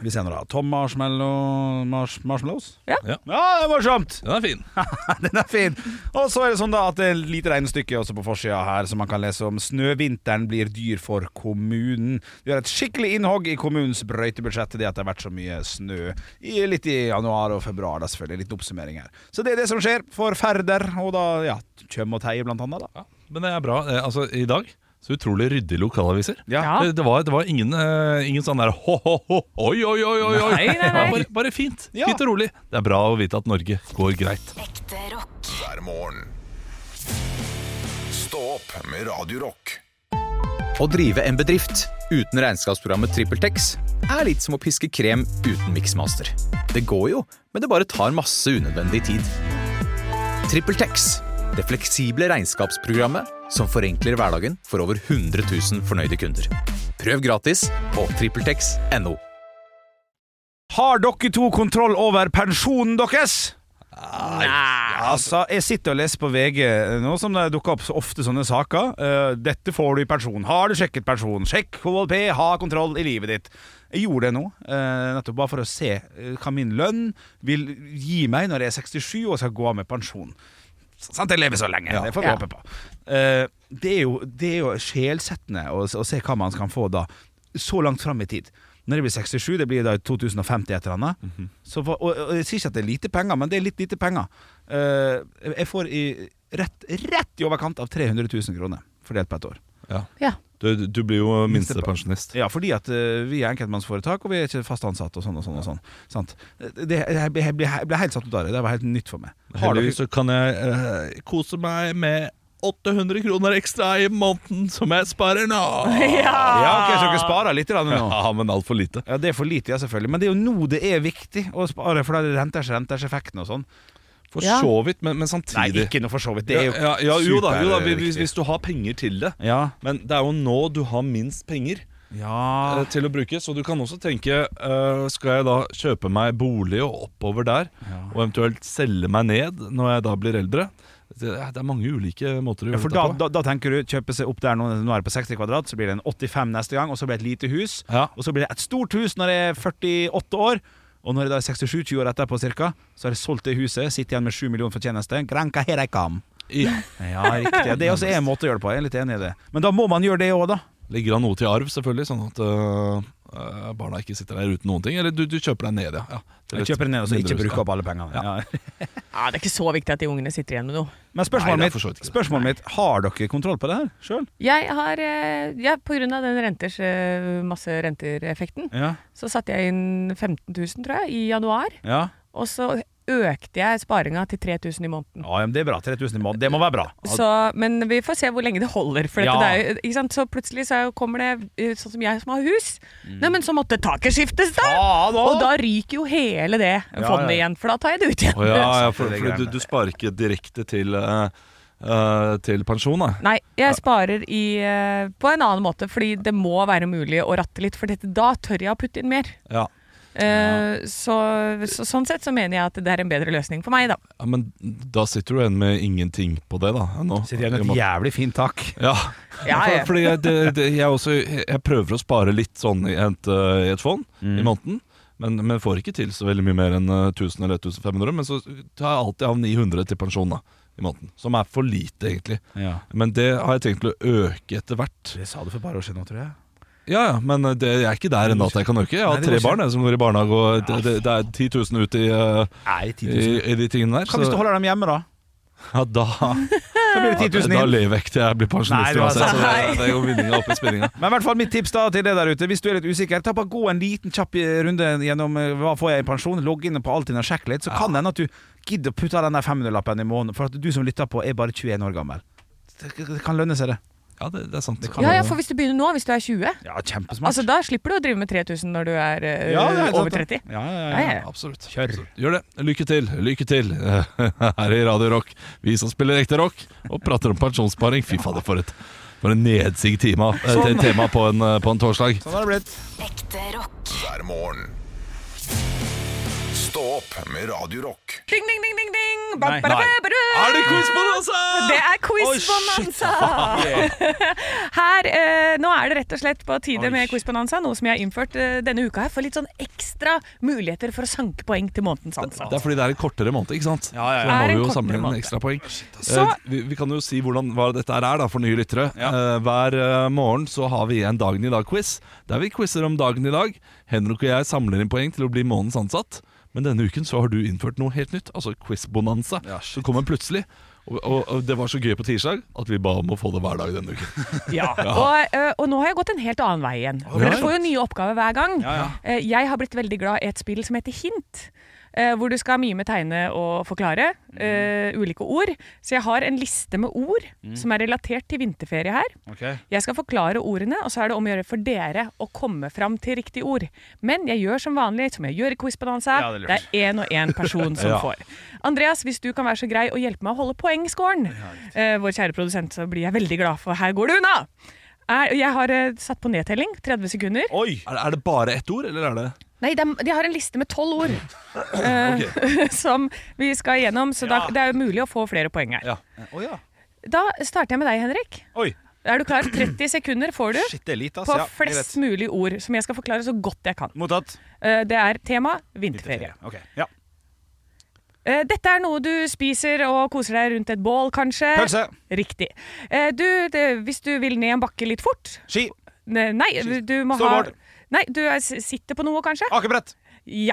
[SPEAKER 3] Vi ser nå da. Tom Marshmallow mars, Marshmallows?
[SPEAKER 4] Ja.
[SPEAKER 2] Ja.
[SPEAKER 3] ja, det er morsomt!
[SPEAKER 2] Den er fin.
[SPEAKER 3] [laughs] Den er fin. Og så er det sånn da at det er et lite regnestykke også på forsida her som man kan lese om. Snøvinteren blir dyr for kommunen. Det gjør et skikkelig innhogg i kommunens brøytebudsjett det at det har vært så mye snø. I, litt i januar og februar, da selvfølgelig. Litt oppsummering her. Så det er det som skjer for Færder, og da ja, Tjøm og Teie blant annet, da.
[SPEAKER 2] Ja, men det er bra. Eh, Altså, I dag så utrolig ryddige lokalaviser.
[SPEAKER 3] Ja.
[SPEAKER 2] Det, det, var, det var ingen, eh, ingen sånn der ho-ho-ho, oi, oi, oi, oi. oi.
[SPEAKER 4] Nei, nei,
[SPEAKER 2] Det var
[SPEAKER 4] nei.
[SPEAKER 2] [laughs] Bare, bare fint.
[SPEAKER 3] Ja.
[SPEAKER 2] Fint og rolig. Det er bra å vite at Norge går greit.
[SPEAKER 5] Ekte rock.
[SPEAKER 1] hver morgen. Stå opp med Radio Rock.
[SPEAKER 7] Å drive en bedrift uten regnskapsprogrammet TrippelTex er litt som å piske krem uten miksmaster. Det går jo, men det bare tar masse unødvendig tid. TrippelTex det fleksible regnskapsprogrammet som forenkler hverdagen for over 100 000 fornøyde kunder. Prøv gratis på TrippelTex.no.
[SPEAKER 3] Har dere to kontroll over pensjonen deres? Nei Altså, jeg sitter og leser på VG nå som det dukker opp så ofte sånne saker. Eh, dette får du i pensjon. Har du sjekket pensjon? Sjekk KLP, ha kontroll i livet ditt. Jeg gjorde det nå, eh, nettopp bare for å se eh, hva min lønn vil gi meg når jeg er 67 og skal gå av med pensjon. Sant, jeg lever så lenge. Det får vi håpe på. Eh, det, er jo, det er jo sjelsettende å, å se hva man kan få da, så langt fram i tid. Når jeg blir 67, det blir da i 2050 et eller annet. så, for- og, og jeg sier ikke at det er lite penger, men det er litt lite penger. Eh, jeg får i, rett, rett i overkant av 300 000 kroner fordelt på et år.
[SPEAKER 4] Ja.
[SPEAKER 2] Du, du blir jo minstepensjonist.
[SPEAKER 3] Ja, fordi at eh, vi er enkeltmannsforetak, og vi er ikke fast ansatt og sånn og sånn. og sånn Sant? Det, jeg, ble- jeg, ble- jeg ble helt satt ut av det. Det var helt nytt for meg. Har dere-
[SPEAKER 2] Heldigvis så kan jeg eh, kose meg med 800 kroner ekstra i måneden som jeg sparer nå.
[SPEAKER 3] [laughs] Ja, ok, så dere sparer litt grann nå?
[SPEAKER 2] Ja, men altfor lite.
[SPEAKER 3] Ja, Det er for lite, ja, selvfølgelig. Men det er jo nå det er viktig å spare, for da er det renters, renters effekten og sånn.
[SPEAKER 2] For
[SPEAKER 4] Ja.
[SPEAKER 2] så vidt, men, men samtidig
[SPEAKER 3] noe for så vidt.
[SPEAKER 2] ja, ja, ja, jo da, jo da hvis- hvis,
[SPEAKER 3] superviktig.
[SPEAKER 2] hvis du har penger til det.
[SPEAKER 3] Ja.
[SPEAKER 2] Men det er jo nå du har minst penger. eh,
[SPEAKER 3] ja.
[SPEAKER 2] til å bruke. Så du kan også tenke eh, Skal jeg da kjøpe meg bolig og oppover der, og eventuelt selge meg ned når jeg da blir eldre? Det er, det er mange ulike måter å gjøre
[SPEAKER 3] for da,
[SPEAKER 2] dette på.
[SPEAKER 3] da, da tenker du kjøpe seg opp der nå, nå er det på 60 kvadrat, så blir det en 85 neste gang, og så blir det et lite hus.
[SPEAKER 2] Ja.
[SPEAKER 3] Og så blir det et stort hus når jeg er 48 år. Og når jeg da er 67-20 år etterpå, cirka, så har jeg solgt det huset, sitter igjen med 7 millioner fortjeneste. Granka her jeg kam.
[SPEAKER 2] Ja.
[SPEAKER 3] Ja, riktig. Det er også en måte å gjøre det på. Jeg er litt enig i det. Men da må man gjøre det òg, da.
[SPEAKER 2] Ligger han noe til arv, selvfølgelig, sånn at eh, barna ikke sitter der uten noen ting? Eller du, du kjøper deg ned, ja. ja til
[SPEAKER 3] Jeg
[SPEAKER 2] et
[SPEAKER 3] kjøper det ned og så ikke
[SPEAKER 2] mindre hus,
[SPEAKER 3] bruker
[SPEAKER 2] ja.
[SPEAKER 3] opp alle pengene. Ja.
[SPEAKER 4] ja, Det er ikke så viktig at de ungene sitter igjen med noe.
[SPEAKER 3] Men spørsmålet,
[SPEAKER 2] Nei, det er for så vidt
[SPEAKER 3] mitt,
[SPEAKER 2] ikke det.
[SPEAKER 3] spørsmålet mitt Har dere kontroll på det her sjøl?
[SPEAKER 4] Jeg har, eh, ja, På grunn av den renters, eh, masse rentereffekten
[SPEAKER 3] Ja.
[SPEAKER 4] så satte jeg inn 15 000, tror jeg, i januar.
[SPEAKER 3] Ja.
[SPEAKER 4] Og så økte jeg sparinga til 3000 i måneden.
[SPEAKER 3] ja, men det er bra. 3000 i måneden. Det må være bra.
[SPEAKER 4] Så, men vi får se hvor lenge det holder. For
[SPEAKER 3] Ja.
[SPEAKER 4] dette, det er, jo- ikke sant? Så plutselig så er jo- kommer det eh, sånn som jeg som har hus.
[SPEAKER 2] Mm.
[SPEAKER 4] Nei, men så måtte taket skiftes, da!
[SPEAKER 2] Ah!
[SPEAKER 3] Ja, da.
[SPEAKER 4] Og da ryker jo hele det
[SPEAKER 3] ja.
[SPEAKER 4] fondet igjen, for da tar jeg det ut igjen.
[SPEAKER 2] Å ja, ja, for,
[SPEAKER 3] Det er
[SPEAKER 2] for du,
[SPEAKER 3] greiene.
[SPEAKER 2] du sparer ikke direkte til, eh, eh, til pensjon, da.
[SPEAKER 4] [laughs] Nei, jeg sparer i, eh, på en annen måte, fordi det må være mulig å ratte litt. For dette, da tør jeg å putte inn mer.
[SPEAKER 2] Ja.
[SPEAKER 4] Eh, så, så, sånn sett så mener jeg at det er en bedre løsning for meg, da.
[SPEAKER 2] Ja, men da sitter du igjen med ingenting på det, da. Nå.
[SPEAKER 3] Sitter igjen med
[SPEAKER 2] I og
[SPEAKER 3] et
[SPEAKER 2] med-
[SPEAKER 3] jævlig fint tak.
[SPEAKER 2] Ja,
[SPEAKER 4] Ja, ja.
[SPEAKER 2] For, fordi jeg, det, det, jeg, også, jeg prøver å spare litt sånn i et, eh, i et fond
[SPEAKER 3] Mm.
[SPEAKER 2] i måneden. Men, men får ikke til så veldig mye mer enn eh, 1000 eller 1500. Men så tar jeg alltid av 900 til pensjon da, i måneden. Som er for lite, egentlig.
[SPEAKER 3] Ja.
[SPEAKER 2] Men det har jeg tenkt til å øke etter hvert.
[SPEAKER 3] Det sa du for et par år siden, tror jeg.
[SPEAKER 2] Ja, ja, Men eh, det, jeg er ikke der ennå at jeg kan øke. Jeg har
[SPEAKER 3] Nei, det går
[SPEAKER 2] tre
[SPEAKER 3] ikke.
[SPEAKER 2] barn jeg, som går i barnehage, og det, det, det er 10 000 ut i, eh,
[SPEAKER 3] Nei, 10
[SPEAKER 2] i,
[SPEAKER 3] 000.
[SPEAKER 2] i de tingene der.
[SPEAKER 3] Hva hvis du holder dem hjemme, da?
[SPEAKER 2] ja, da,
[SPEAKER 3] Så blir det 10 000
[SPEAKER 2] da
[SPEAKER 3] inn.
[SPEAKER 2] lever jeg ikke til jeg blir
[SPEAKER 3] Nei,
[SPEAKER 2] pensjonist
[SPEAKER 3] du har
[SPEAKER 2] uansett.
[SPEAKER 3] sagt-
[SPEAKER 2] Så det, det er jo vinninga opp i spinninga.
[SPEAKER 3] Men i hvert fall mitt tips da til deg der ute, hvis du er litt usikker, ta bare gå en liten kjapp runde gjennom eh, hva får jeg i pensjon, logg inn på Altinn og sjekk litt, så kan det hende at du gidder å putte av den der 500-lappen i måneden, for at du som lytter på, er bare 21 år gammel. Det det kan lønne seg, det.
[SPEAKER 2] Ja, det, det er sant.
[SPEAKER 3] Det kan
[SPEAKER 4] Ja, ja, for hvis du begynner nå, hvis du er 20
[SPEAKER 3] Ja, kjempesmart.
[SPEAKER 4] Altså, Da slipper du å drive med 3000 når du er eh,
[SPEAKER 3] Ja, det er helt
[SPEAKER 4] over
[SPEAKER 3] sant,
[SPEAKER 4] 30.
[SPEAKER 3] ja, ja,
[SPEAKER 4] Ja,
[SPEAKER 3] ja.
[SPEAKER 4] ja, ja.
[SPEAKER 2] Absolutt.
[SPEAKER 3] Kjør.
[SPEAKER 2] Absolutt. Gjør det. Lykke til. Lykke til [laughs] her i Radio Rock. Vi som spiller ekte rock og prater om pensjonssparing. Fy fader, for et for en nedsig tema, eh, te- tema på en, eh, på en torsdag.
[SPEAKER 3] Sånn har det blitt.
[SPEAKER 5] Ekte rock.
[SPEAKER 1] hver morgen. Stå opp med Radio Rock.
[SPEAKER 4] Ding, ding, ding, ding, ding. Ba,
[SPEAKER 3] Nei.
[SPEAKER 4] ba, da,
[SPEAKER 3] Nei.
[SPEAKER 4] ba, da.
[SPEAKER 2] Er det quiz på det, altså?
[SPEAKER 4] Det er quizbonanza! [laughs] her, eh, nå er det rett og slett på tide med quizbonanza, noe som jeg har innført eh, denne uka her, for litt sånn ekstra muligheter for å sanke poeng til månedens ansa.
[SPEAKER 2] Det er fordi det er en kortere måned, ikke sant?
[SPEAKER 3] Ja, ja, ja.
[SPEAKER 2] Så da må
[SPEAKER 4] Er en
[SPEAKER 2] vi jo
[SPEAKER 4] kortere
[SPEAKER 2] samle inn
[SPEAKER 4] måned.
[SPEAKER 2] ekstra poeng.
[SPEAKER 4] Så-
[SPEAKER 2] Eh, vi, vi kan jo si hvordan, hva dette her er da, for nye lyttere.
[SPEAKER 3] Ja.
[SPEAKER 2] Eh, hver eh, morgen så har vi en Dagen i dag-quiz, der vi quizer om dagen i dag. Henrik og jeg samler inn poeng til å bli månedens ansatt. Men denne uken så har du innført noe helt nytt, altså quiz-bonanza.
[SPEAKER 3] Ja, shit.
[SPEAKER 2] som kommer plutselig. Og, og, og det var så gøy på tirsdag at vi ba om å få det hver dag denne uken.
[SPEAKER 4] Ja. Og, eh, og nå har jeg gått en helt annen vei igjen. For dere får jo nye oppgaver hver gang.
[SPEAKER 3] Ja, ja.
[SPEAKER 4] Eh, Jeg har blitt veldig glad i et spill som heter Hint. eh, Hvor du skal mime, tegne og forklare
[SPEAKER 3] Mm.
[SPEAKER 4] eh, ulike ord. Så jeg har en liste med ord
[SPEAKER 3] Mm.
[SPEAKER 4] som er relatert til vinterferie her.
[SPEAKER 3] Ok.
[SPEAKER 4] Jeg skal forklare ordene, og så er det om å gjøre for dere å komme fram til riktig ord. Men jeg gjør som vanlig, som jeg gjør i Quizbalanse.
[SPEAKER 3] Ja, det er lurt.
[SPEAKER 4] det er én og én
[SPEAKER 3] [laughs]
[SPEAKER 4] person som får. Andreas, hvis du kan være så grei å hjelpe meg å holde poengscoren, eh, vår kjære produsent, så blir jeg veldig glad, for her går det unna! Er, jeg har eh, satt på nedtelling. 30 sekunder.
[SPEAKER 3] Oi!
[SPEAKER 2] Er, det- er det bare ett ord, eller er det
[SPEAKER 4] Nei, de, de har en liste med
[SPEAKER 3] [laughs]
[SPEAKER 4] tolv ord eh, [laughs] som vi skal igjennom, så da, det er jo mulig å få flere poeng her.
[SPEAKER 2] Eh, Ja.
[SPEAKER 3] Å ja.
[SPEAKER 4] Da starter jeg med deg, Henrik.
[SPEAKER 3] Oi.
[SPEAKER 4] Er du klar? 30 sekunder får du.
[SPEAKER 3] Shit, det er lite, ass.
[SPEAKER 4] på
[SPEAKER 3] Ja, jeg
[SPEAKER 4] flest
[SPEAKER 3] vet.
[SPEAKER 4] mulig ord, som jeg skal forklare så godt jeg kan.
[SPEAKER 3] Mottatt.
[SPEAKER 4] Eh, Det er tema vinterferie.
[SPEAKER 3] Ok, ja.
[SPEAKER 4] Eh, Dette er noe du spiser og koser deg rundt et bål, kanskje.
[SPEAKER 3] Pølse.
[SPEAKER 4] Riktig. Eh, Du, det, hvis du vil ned en bakke litt fort
[SPEAKER 3] Ski.
[SPEAKER 4] ne- Nei, du må ha
[SPEAKER 3] Snowboard.
[SPEAKER 4] Nei, du er, sitter på noe, kanskje?
[SPEAKER 3] Akebrett.
[SPEAKER 4] Ja.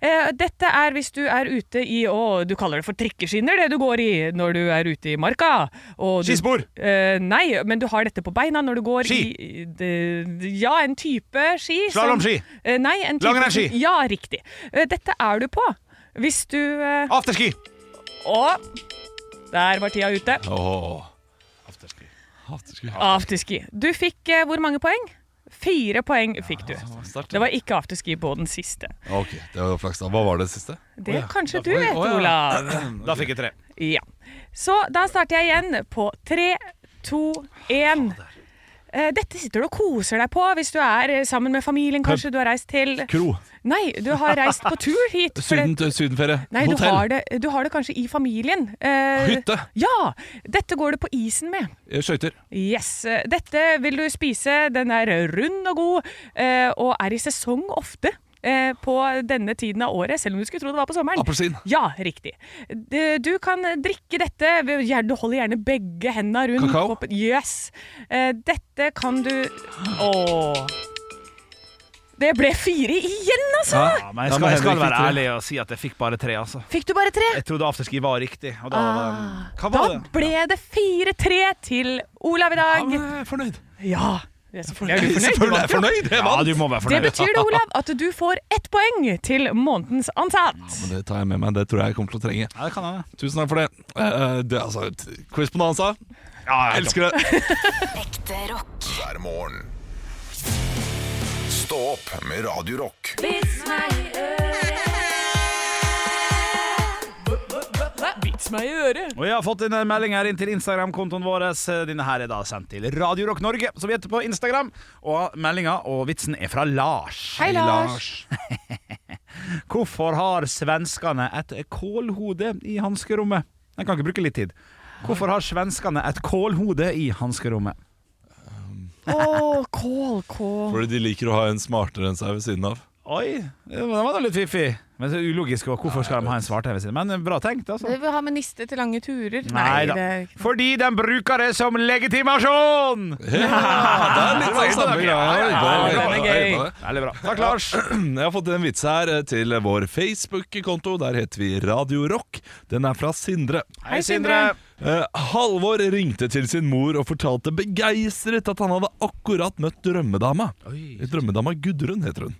[SPEAKER 4] Eh, Dette er hvis du er ute i Å, du kaller det for trikkeskinner, det du går i når du er ute i marka. Og du,
[SPEAKER 3] Skispor.
[SPEAKER 4] Eh, nei, men du har dette på beina når du går
[SPEAKER 3] Ski.
[SPEAKER 4] i de, Ja, en type ski. som-
[SPEAKER 3] Slalåmski.
[SPEAKER 4] Eh, nei, en type
[SPEAKER 3] Langrennsski.
[SPEAKER 4] Ja, riktig. Eh, dette er du på hvis du eh,
[SPEAKER 3] Afterski.
[SPEAKER 4] Å! Der var tida ute.
[SPEAKER 2] Åh. Afterski.
[SPEAKER 4] Afterski. Du fikk eh, hvor mange poeng? Fire poeng fikk du. Det var ikke afterski på den siste.
[SPEAKER 2] Ok, det var flaks da. Hva var det siste?
[SPEAKER 4] Det
[SPEAKER 2] Å ja,
[SPEAKER 4] kanskje
[SPEAKER 2] da
[SPEAKER 4] du
[SPEAKER 2] får jeg-
[SPEAKER 4] vet,
[SPEAKER 2] å ja.
[SPEAKER 4] Olav.
[SPEAKER 3] Da fikk jeg tre.
[SPEAKER 4] Ja. Så da starter jeg igjen på tre, to, én.
[SPEAKER 2] Ah,
[SPEAKER 4] Eh, Dette sitter du og koser deg på hvis du er eh, sammen med familien, kanskje. Du har reist til
[SPEAKER 2] Kro.
[SPEAKER 4] Nei, du har reist på tur hit. for det-
[SPEAKER 2] Syden, sydenferie.
[SPEAKER 4] Nei, du
[SPEAKER 2] Hotell.
[SPEAKER 4] har, det, du har det kanskje i familien. Eh,
[SPEAKER 2] Hytte.
[SPEAKER 4] Ja! Dette går du på isen med.
[SPEAKER 2] Eh, Skøyter.
[SPEAKER 4] Yes. eh, Dette vil du spise. Den er rund og god, eh, og er i sesong ofte. eh, På denne tiden av året, selv om du skulle tro det var på sommeren.
[SPEAKER 2] Appelsin.
[SPEAKER 4] Ja, riktig. Det- Du kan drikke dette ved- gjerne- Du holder gjerne begge hendene rundt
[SPEAKER 2] Kakao?
[SPEAKER 4] koppen. Yes. Eh, Dette kan du Åh. Det ble fire igjen, altså!
[SPEAKER 3] Ja, men jeg
[SPEAKER 2] men
[SPEAKER 3] skal, jeg skal
[SPEAKER 2] Henrik fikk
[SPEAKER 3] være
[SPEAKER 2] tre.
[SPEAKER 3] ærlig og si at jeg fikk bare tre, altså.
[SPEAKER 4] Fikk du bare tre?
[SPEAKER 3] Jeg trodde afterski var riktig. Og da,
[SPEAKER 4] Ah,
[SPEAKER 3] hva var
[SPEAKER 4] Da
[SPEAKER 3] det?
[SPEAKER 4] ble det 4-3 til Olav i
[SPEAKER 2] Ja, men
[SPEAKER 4] dag.
[SPEAKER 2] jeg er fornøyd.
[SPEAKER 4] Ja. Jeg er selvfølgelig
[SPEAKER 2] [laughs]
[SPEAKER 4] fornøyd.
[SPEAKER 2] Selvfølgelig er jeg fornøyd. Jeg
[SPEAKER 3] Ja,
[SPEAKER 2] vant.
[SPEAKER 3] du må være
[SPEAKER 4] Det
[SPEAKER 3] fornøyd.
[SPEAKER 4] betyr det, Olav, at du får ett poeng til månedens ansatt.
[SPEAKER 2] Men det tar jeg med meg. Det tror jeg jeg kommer til å trenge.
[SPEAKER 3] Ja, det kan hende.
[SPEAKER 2] Tusen takk for det. Eh, det altså, t- quiz på Nansa.
[SPEAKER 3] Ja,
[SPEAKER 2] Jeg
[SPEAKER 3] jeg
[SPEAKER 2] elsker det.
[SPEAKER 5] Ekte rock.
[SPEAKER 1] hver morgen. Stå opp med Radio Rock.
[SPEAKER 4] Vits meg i øret.
[SPEAKER 3] Og jeg har fått en eh, melding her inn til Instagram-kontoen vår. Eh, Denne her er da sendt til Radio Rock Norge, som vi heter på Instagram. Og meldinga og vitsen er fra Lars.
[SPEAKER 4] Hei, Lars.
[SPEAKER 3] [laughs] Hvorfor har svenskene et kålhode i hanskerommet? Jeg kan ikke bruke litt tid. Hvorfor har svenskene et kålhode i hanskerommet?
[SPEAKER 4] Å, kål, kål.
[SPEAKER 2] Fordi de liker å ha en smartere enn seg ved siden av.
[SPEAKER 3] Oi, det var da litt fiffig. Men så ulogisk også. Hvorfor skal de ha en svart-TV side? Men bra tenkt, altså.
[SPEAKER 4] Det vil ha med niste til lange turer.
[SPEAKER 3] Nei da. Fordi de bruker det som legitimasjon!
[SPEAKER 2] Ja, det er litt sånn samme greia.
[SPEAKER 4] ja, ja, den er gøy.
[SPEAKER 3] Veldig bra. Takk, Lars.
[SPEAKER 2] [clears throat] Jeg har fått en vits her eh, til vår Facebook-konto. Der heter vi Radio Rock. Den er fra Sindre.
[SPEAKER 4] Hei, Sindre.
[SPEAKER 2] Eh, Halvor ringte til sin mor og fortalte begeistret at han hadde akkurat møtt drømmedama.
[SPEAKER 3] Oi.
[SPEAKER 2] Drømmedama Gudrun heter hun.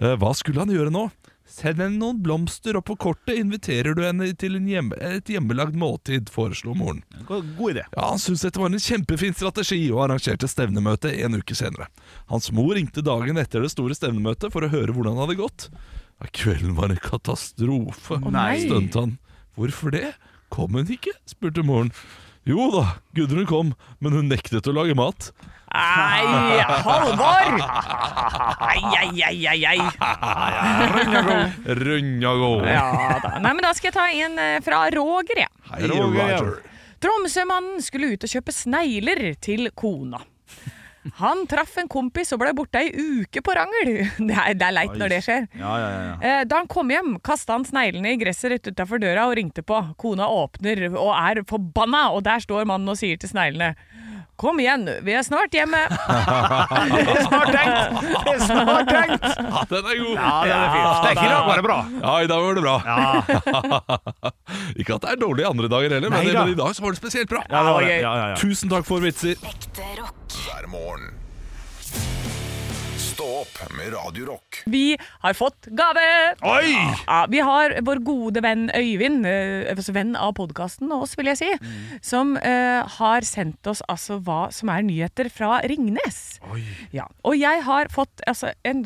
[SPEAKER 2] Eh, Hva skulle han gjøre nå? Send henne noen blomster, og på kortet inviterer du henne til en hjemme, et hjemmelagd måltid, foreslo moren.
[SPEAKER 3] God, god idé.
[SPEAKER 2] Ja, Han syntes dette var en kjempefin strategi og arrangerte stevnemøte en uke senere. Hans mor ringte dagen etter det store stevnemøtet for å høre hvordan det hadde gått. Ja, kvelden var en katastrofe,
[SPEAKER 3] nei.
[SPEAKER 2] stønte han. Hvorfor det? Kom hun ikke? spurte moren. Jo da, Gudrun kom, men hun nektet å lage mat.
[SPEAKER 4] Nei, Halvor! Ai, ai, ai, ai, ai.
[SPEAKER 2] Rønja gå!
[SPEAKER 4] Ja da. Nei, men da skal jeg ta en eh, fra Roger, jeg.
[SPEAKER 2] Hei, Roger.
[SPEAKER 4] Tromsømannen skulle ut og kjøpe snegler til kona. Han traff en kompis og ble borte ei uke på rangel. Det er, det er leit når det skjer.
[SPEAKER 3] Ja, ja, ja, ja.
[SPEAKER 4] Eh, Da han kom hjem, kasta han sneglene i gresset rett utafor døra og ringte på. Kona åpner og er forbanna, og der står mannen og sier til sneglene Kom igjen, vi er snart hjemme.
[SPEAKER 3] Snart tenkt! Det er snart tenkt!
[SPEAKER 2] Ja, den er god!
[SPEAKER 3] Ja, det er fint. Det er ikke i dag var det bra.
[SPEAKER 2] Ja, i dag var det bra. [laughs] ikke at det er dårlig andre dager heller, men,
[SPEAKER 3] Nei da.
[SPEAKER 2] men i dag så var det spesielt bra.
[SPEAKER 3] [laughs] Ja, det var det. Ja, ja, ja.
[SPEAKER 2] Tusen takk for vitser.
[SPEAKER 5] Ekte rock.
[SPEAKER 1] hver morgen. Stå opp med Radio Rock.
[SPEAKER 4] Vi har fått gave!
[SPEAKER 3] Oi!
[SPEAKER 4] Ja, vi har vår gode venn Øyvind, eh, altså venn av podkasten og oss, vil jeg si,
[SPEAKER 3] Mm.
[SPEAKER 4] som eh, har sendt oss altså hva som er nyheter fra Ringnes. Ja. Og jeg har fått altså, en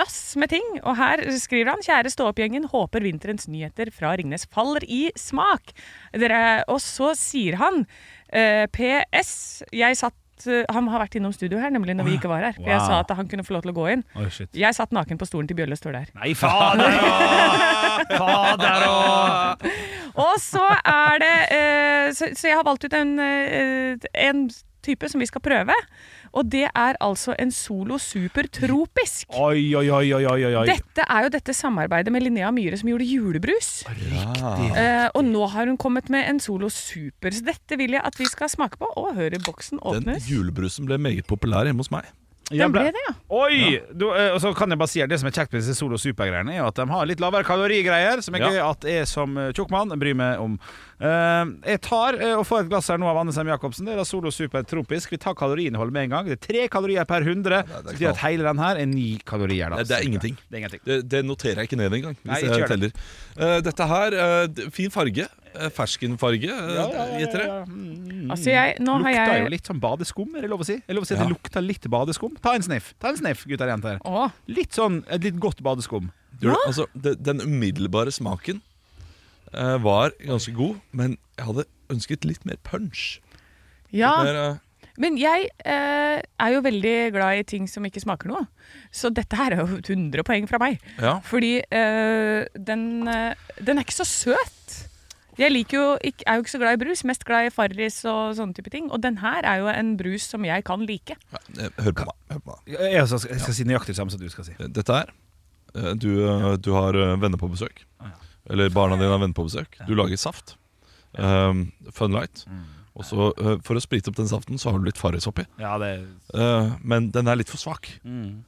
[SPEAKER 4] lass med ting, og her skriver han Kjære stå-opp-gjengen, håper vinterens nyheter fra Ringnes faller i smak. Dere, og så sier han eh, PS, jeg satt eh, han har vært innom studio her, nemlig når vi ikke var her. For jeg
[SPEAKER 3] Wow.
[SPEAKER 4] sa at han kunne få lov til å gå inn.
[SPEAKER 3] Oi, shit.
[SPEAKER 4] Jeg satt naken på stolen til Bjølle står der.
[SPEAKER 3] Nei, fader òg! [laughs] Fader òg!
[SPEAKER 4] Og så er det eh, så, så jeg har valgt ut en, eh, en type som vi skal prøve. Og det er altså en solo supertropisk.
[SPEAKER 3] Oi, oi, oi, oi, oi, oi.
[SPEAKER 4] Dette er jo dette samarbeidet med Linnea Myhre som gjorde julebrus. Eh, og nå har hun kommet med en solo super. Så dette vil jeg at vi skal smake på og høre boksen
[SPEAKER 2] Den
[SPEAKER 4] åpnes.
[SPEAKER 2] julebrusen ble meget populær hjemme hos meg.
[SPEAKER 3] Jeg
[SPEAKER 4] Den ble det, ja.
[SPEAKER 3] Oi! Du, eh, og så kan jeg bare si at Det som er kjekt med disse Solo Super-greiene, er jo at de har litt lavere kalorigreier, som jeg, at jeg som eh, tjukk mann bryr meg om. Eh, jeg tar eh, og får et glass her nå av Anne Sem Jacobsen. Det er da Solo Super tropisk. Vi tar kaloriinnholdet med en gang. Det er tre kalorier per 100. Så det betyr at hele den her er ni kalorier. Da,
[SPEAKER 2] Nei, det er ingenting.
[SPEAKER 3] Det er ingenting.
[SPEAKER 2] Det, det noterer jeg ikke ned engang. Hvis
[SPEAKER 3] Nei, ikke
[SPEAKER 2] jeg
[SPEAKER 3] gjør
[SPEAKER 2] teller. Eh, dette her, eh, d- fin farge. Eh, ferskenfarge, eh, gjetter jeg.
[SPEAKER 4] Altså jeg, nå har
[SPEAKER 3] Lukter jo
[SPEAKER 4] jeg
[SPEAKER 3] litt sånn badeskum, er det lov å si? Er det lov å si at
[SPEAKER 2] Ja.
[SPEAKER 3] Det lukter litt badeskum. Ta en sniff, Ta en sniff, gutter og jenter.
[SPEAKER 4] Å,
[SPEAKER 3] Litt sånn, Et litt godt badeskum.
[SPEAKER 2] Gjør det? Altså, det, den umiddelbare smaken eh, var ganske god, men jeg hadde ønsket litt mer punch.
[SPEAKER 4] ja.
[SPEAKER 2] Litt mer, eh,
[SPEAKER 4] Men jeg eh, er jo veldig glad i ting som ikke smaker noe. Så dette her er jo 100 poeng fra meg.
[SPEAKER 2] ja.
[SPEAKER 4] Fordi eh, den, eh, den er ikke så søt. Jeg liker jo ikke, er jo ikke så glad i brus, mest glad i Farris og sånne type ting. Og den her er jo en brus som jeg kan like.
[SPEAKER 2] Ja, eh, Hør på meg. Hør på meg.
[SPEAKER 3] Jeg også skal, jeg skal si nøyaktig det samme som du skal si.
[SPEAKER 2] Dette er eh, Du, eh, du har eh, venner på besøk. Eller barna dine har venner på besøk. Du lager saft. Um, Funlight. Og så, eh, for å sprite opp den saften, så har du litt Farris oppi.
[SPEAKER 3] Ja, det
[SPEAKER 2] Eh, men den er litt for svak. Mm.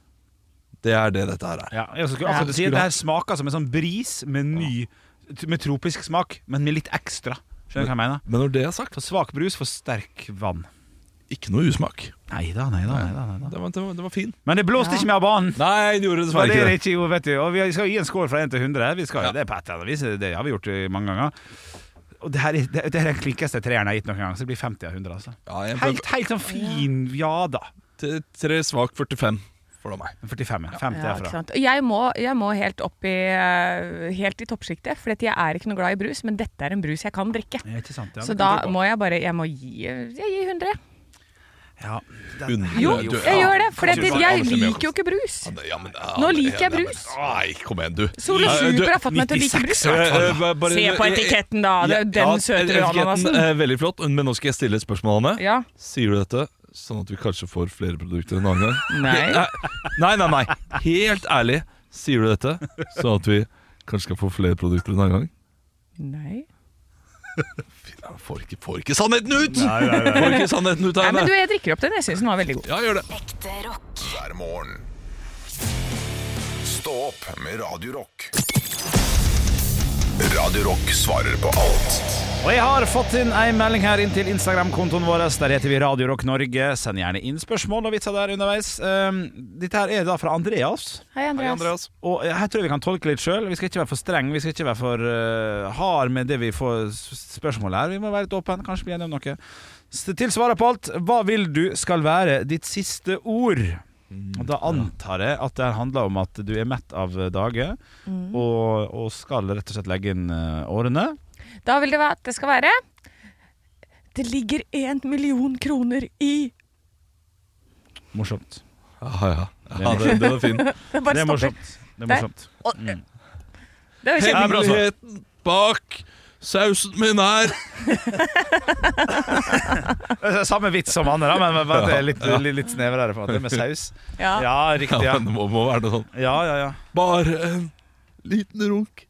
[SPEAKER 2] Det er det dette her er.
[SPEAKER 3] Ja, jeg skulle akkurat si at Det her smaker som en sånn bris med ny Med tropisk smak, men med litt ekstra. Skjønner du hva jeg mener?
[SPEAKER 2] Men når det er sagt,
[SPEAKER 3] For svak brus, for sterk vann.
[SPEAKER 2] ikke noe usmak.
[SPEAKER 3] Nei da, nei da. Nei da, nei da.
[SPEAKER 2] Den var, den var, den var fin.
[SPEAKER 3] Men det blåste ikke med av banen!
[SPEAKER 2] Nei, den gjorde
[SPEAKER 3] Det var
[SPEAKER 2] dessverre
[SPEAKER 3] det
[SPEAKER 2] ikke
[SPEAKER 3] det
[SPEAKER 2] det.
[SPEAKER 3] ikke gjorde, vet du. Og vi skal gi en score fra 1 til 100. Vi skal jo det på et eller annet vis. Det har vi gjort eh, mange ganger. Og det her, er- det, det her er den klinkeste treeren jeg har gitt noen gang. Så det blir 50 av 100, altså.
[SPEAKER 2] Ja, jeg ble-
[SPEAKER 3] Helt, helt sånn fin ja da.
[SPEAKER 2] t- Tre svak 45 for meg.
[SPEAKER 3] 45, ja. 50
[SPEAKER 4] Ja, ikke
[SPEAKER 3] herfra.
[SPEAKER 4] sant? Og Jeg må, jeg må helt opp i, eh, helt i toppsjiktet, for jeg er ikke noe glad i brus, men dette er en brus jeg kan drikke.
[SPEAKER 3] Ja, ikke sant? Ja,
[SPEAKER 4] Så
[SPEAKER 3] det
[SPEAKER 4] da
[SPEAKER 3] kan du på.
[SPEAKER 4] må jeg bare Jeg må gi, jeg gir 100. jeg.
[SPEAKER 3] ja.
[SPEAKER 2] Under-
[SPEAKER 4] Jo,
[SPEAKER 2] du-
[SPEAKER 4] jeg gjør det, for
[SPEAKER 2] kanskje
[SPEAKER 4] jeg,
[SPEAKER 2] bare-
[SPEAKER 4] jeg
[SPEAKER 2] kanskje bare-
[SPEAKER 4] liker jo ikke brus.
[SPEAKER 2] Ja, men, ja,
[SPEAKER 4] Nå
[SPEAKER 2] men-
[SPEAKER 4] liker jeg
[SPEAKER 2] ja, men-
[SPEAKER 4] brus.
[SPEAKER 2] Nei, kom igjen, du.
[SPEAKER 4] Solo
[SPEAKER 2] Nei,
[SPEAKER 4] Super
[SPEAKER 2] du-
[SPEAKER 4] har fått meg til å like brus.
[SPEAKER 2] 96 i hvert fall.
[SPEAKER 3] Eh,
[SPEAKER 2] Eh, bare-
[SPEAKER 4] Se på
[SPEAKER 2] eh,
[SPEAKER 4] etiketten, da. Det
[SPEAKER 2] ja, eh,
[SPEAKER 4] er jo den søte
[SPEAKER 2] etiketten
[SPEAKER 4] ananasen.
[SPEAKER 2] er Veldig flott, men nå skal jeg stille et spørsmål, Anne.
[SPEAKER 4] Ja.
[SPEAKER 2] Sier du dette sånn at vi kanskje får flere produkter en annen gang? eh,
[SPEAKER 4] [laughs] Nei.
[SPEAKER 2] Nei, nei, nei. Helt ærlig, sier du dette sånn at vi kanskje skal få flere produkter en annen gang?
[SPEAKER 4] Nei.
[SPEAKER 2] Ja, Får ikke, får ikke sannheten ut!
[SPEAKER 3] Nei, nei, nei.
[SPEAKER 2] Får ikke sannheten ut,
[SPEAKER 4] Nei, men du,
[SPEAKER 2] Anne.
[SPEAKER 4] jeg drikker opp den. Jeg syns den var veldig god.
[SPEAKER 2] Ja, gjør det.
[SPEAKER 5] Ekte rock.
[SPEAKER 1] hver morgen. Stå opp med Radio Rock. Radio Rock svarer på alt.
[SPEAKER 3] Og jeg har fått inn ei melding her inn til Instagram-kontoen vår. Der heter vi Radio Rock Norge. Send gjerne inn spørsmål og vitser der underveis. Um, dette her er da fra Andreas.
[SPEAKER 4] Hei, Andreas.
[SPEAKER 3] Og her tror jeg vi kan tolke litt sjøl. Vi skal ikke være for strenge, vi skal ikke være for uh, hard med det vi får s- spørsmål her. Vi må være litt åpne, kanskje bli enige om noe. S- Til svaret på alt, hva vil du skal være ditt siste ord? Og Da antar jeg at det her handler om at du er mett av dage og, og skal rett og slett legge inn uh, årene.
[SPEAKER 4] Da vil det være at det skal være Det ligger én million kroner i
[SPEAKER 3] Morsomt.
[SPEAKER 2] Ja, ja. ja det, det var fin.
[SPEAKER 4] Det bare
[SPEAKER 3] Det er
[SPEAKER 4] stopper.
[SPEAKER 3] morsomt. Det er
[SPEAKER 4] Der.
[SPEAKER 3] morsomt.
[SPEAKER 4] Og- Det er jo kjempe...
[SPEAKER 2] Hemmeligheten bak sausen min er
[SPEAKER 3] Det er Eh, Samme vits som han, da, men bare at det er litt, litt, litt snevrere, på en måte, med saus.
[SPEAKER 4] Ja.
[SPEAKER 3] Ja, riktig.
[SPEAKER 2] Ja,
[SPEAKER 3] Ja,
[SPEAKER 2] men det må, må være noe sånn
[SPEAKER 3] ja, ja. ja.
[SPEAKER 2] Bare en liten runk.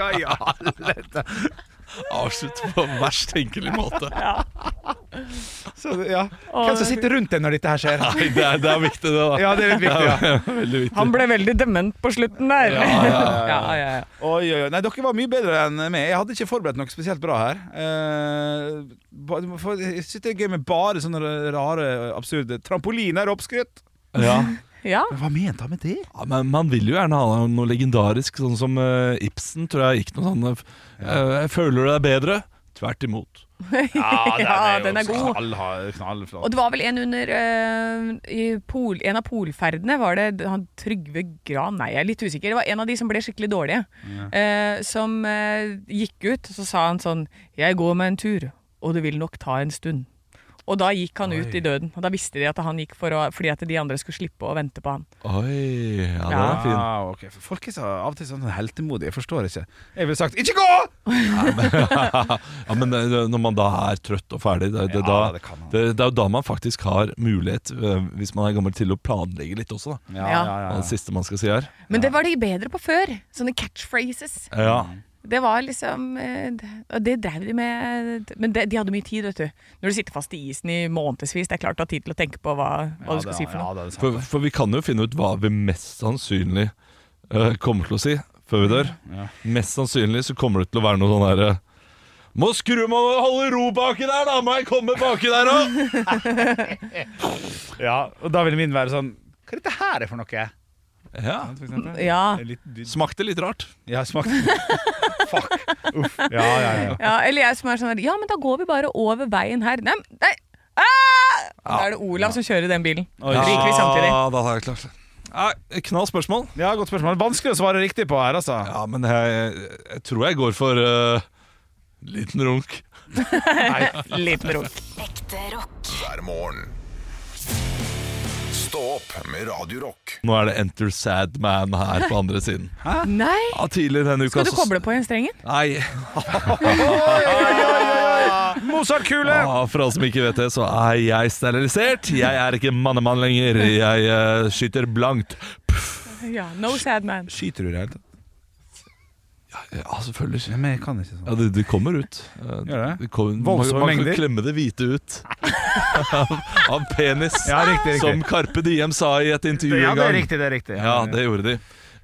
[SPEAKER 3] Ja, ja.
[SPEAKER 2] Avslutte på verst tenkelig måte.
[SPEAKER 3] Så, ja. Hvem som sitter rundt deg når dette her skjer?
[SPEAKER 2] [laughs] Nei, det er, det er viktig, det, da.
[SPEAKER 3] Ja, det er litt viktig, ja.
[SPEAKER 2] Veldig viktig.
[SPEAKER 4] Han ble veldig dement på slutten der. Ja, ja, [laughs] ja. ja.
[SPEAKER 3] Oi, oi, oi. Nei, dere var mye bedre enn meg. Jeg hadde ikke forberedt noe spesielt bra her. Eh, ba- for- Jeg synes det er gøy med bare sånne rare, absurde Trampoline er oppskrytt!
[SPEAKER 2] Ja.
[SPEAKER 4] ja.
[SPEAKER 3] Men hva mente han med det?
[SPEAKER 2] Ja, men man vil jo gjerne ha noe legendarisk, sånn som eh, Ibsen, tror jeg gikk noe sånn eh, eh, Føler du deg bedre? Tvert imot.
[SPEAKER 3] Ja,
[SPEAKER 4] [laughs] Ja, den er god.
[SPEAKER 3] altså, Knall, knallflott.
[SPEAKER 4] Og det var vel en under eh, i pol, En av polferdene var det han Trygve Gran Nei, jeg er litt usikker. Det var en av de som ble skikkelig dårlige. eh, som eh, gikk ut, så sa han sånn Jeg går meg en tur, og det vil nok ta en stund. Og da gikk han ut i døden. Og da visste de at han gikk for å, fordi at de andre skulle slippe å vente på han.
[SPEAKER 2] Oi, ja, den
[SPEAKER 4] Ja.
[SPEAKER 2] er fin. [laughs]
[SPEAKER 3] Ah, ok. For Folk er så, av og til sånn heltemodige. Jeg forstår ikke. Jeg ville sagt 'ikke gå!'
[SPEAKER 2] Ja, men det, det, når man da er trøtt og ferdig, det, det,
[SPEAKER 3] Ja,
[SPEAKER 2] da,
[SPEAKER 3] det kan man.
[SPEAKER 2] det, det er jo da man faktisk har mulighet, eh, hvis man er gammel, til å planlegge litt også. Da.
[SPEAKER 3] Ja,
[SPEAKER 4] Ja.
[SPEAKER 2] Hva er Det siste man skal si her.
[SPEAKER 4] Men det var de bedre på før. Sånne catchphrases.
[SPEAKER 2] Ja.
[SPEAKER 4] Det var liksom eh, det- Og det drev de med Men det, de hadde mye tid, vet du. Når du sitter fast i isen i månedsvis, det er klart du har tid til å tenke på hva, hva du skal si for noe.
[SPEAKER 3] det er sant.
[SPEAKER 2] For, for vi kan jo finne ut hva vi mest sannsynlig eh, kommer til å si før vi dør. Mest sannsynlig så kommer det til å være noe sånn herre Må skru må holde ro baki der, da! Må jeg komme baki der òg!
[SPEAKER 3] ja, og da ville min være sånn Hva er dette her er for noe?
[SPEAKER 2] [laughs] Ja.
[SPEAKER 3] For eksempel.
[SPEAKER 4] Ja.
[SPEAKER 3] Litt dydd.
[SPEAKER 2] Smakte litt rart.
[SPEAKER 3] Ja, smak. [laughs] Fuck. Uff. Ja, ja, ja.
[SPEAKER 4] ja. Eller jeg som er sånn her Ja, men da går vi bare over veien her. Nei, men- nei. Ah! Da er det Olav som kjører den bilen.
[SPEAKER 3] Ja.
[SPEAKER 4] Ryker vi samtidig.
[SPEAKER 2] Ja, Ah, da har jeg klart det. Nei, Knall spørsmål.
[SPEAKER 3] ja, godt spørsmål. Vanskelig å svare riktig på her, altså.
[SPEAKER 2] Ja, men jeg, jeg tror jeg går for eh, liten runk.
[SPEAKER 4] Liten runk.
[SPEAKER 5] Ekte rock.
[SPEAKER 1] hver morgen. Stå opp med Radio Rock.
[SPEAKER 2] Nå er det Enter Sad Man her på andre siden.
[SPEAKER 4] Nei!
[SPEAKER 2] Ja, tidligere denne uka
[SPEAKER 4] Skal du
[SPEAKER 2] så-
[SPEAKER 4] koble på igjen strengen?
[SPEAKER 2] Nei.
[SPEAKER 3] Mozart-kule!
[SPEAKER 2] Ja, for alle som ikke vet det, så er jeg sterilisert. Jeg er ikke mannemann lenger. Jeg eh, skyter blankt.
[SPEAKER 4] Ja, No sad man.
[SPEAKER 3] Skyter du i det hele tatt?
[SPEAKER 2] Ja, selvfølgelig.
[SPEAKER 3] Men jeg kan ikke sånn.
[SPEAKER 2] Ja, det, det kommer ut. Eh,
[SPEAKER 3] Gjør det?
[SPEAKER 2] kommer, man,
[SPEAKER 3] Voldsomme
[SPEAKER 2] man kan
[SPEAKER 3] mengder.
[SPEAKER 2] klemme det hvite
[SPEAKER 3] [laughs]
[SPEAKER 2] ut av, av penis,
[SPEAKER 3] Ja, riktig, riktig.
[SPEAKER 2] som Carpe Diem sa i et intervju
[SPEAKER 3] Ja,
[SPEAKER 2] en
[SPEAKER 3] det er
[SPEAKER 2] gang.
[SPEAKER 3] riktig. det er riktig
[SPEAKER 2] Ja, det gjorde de.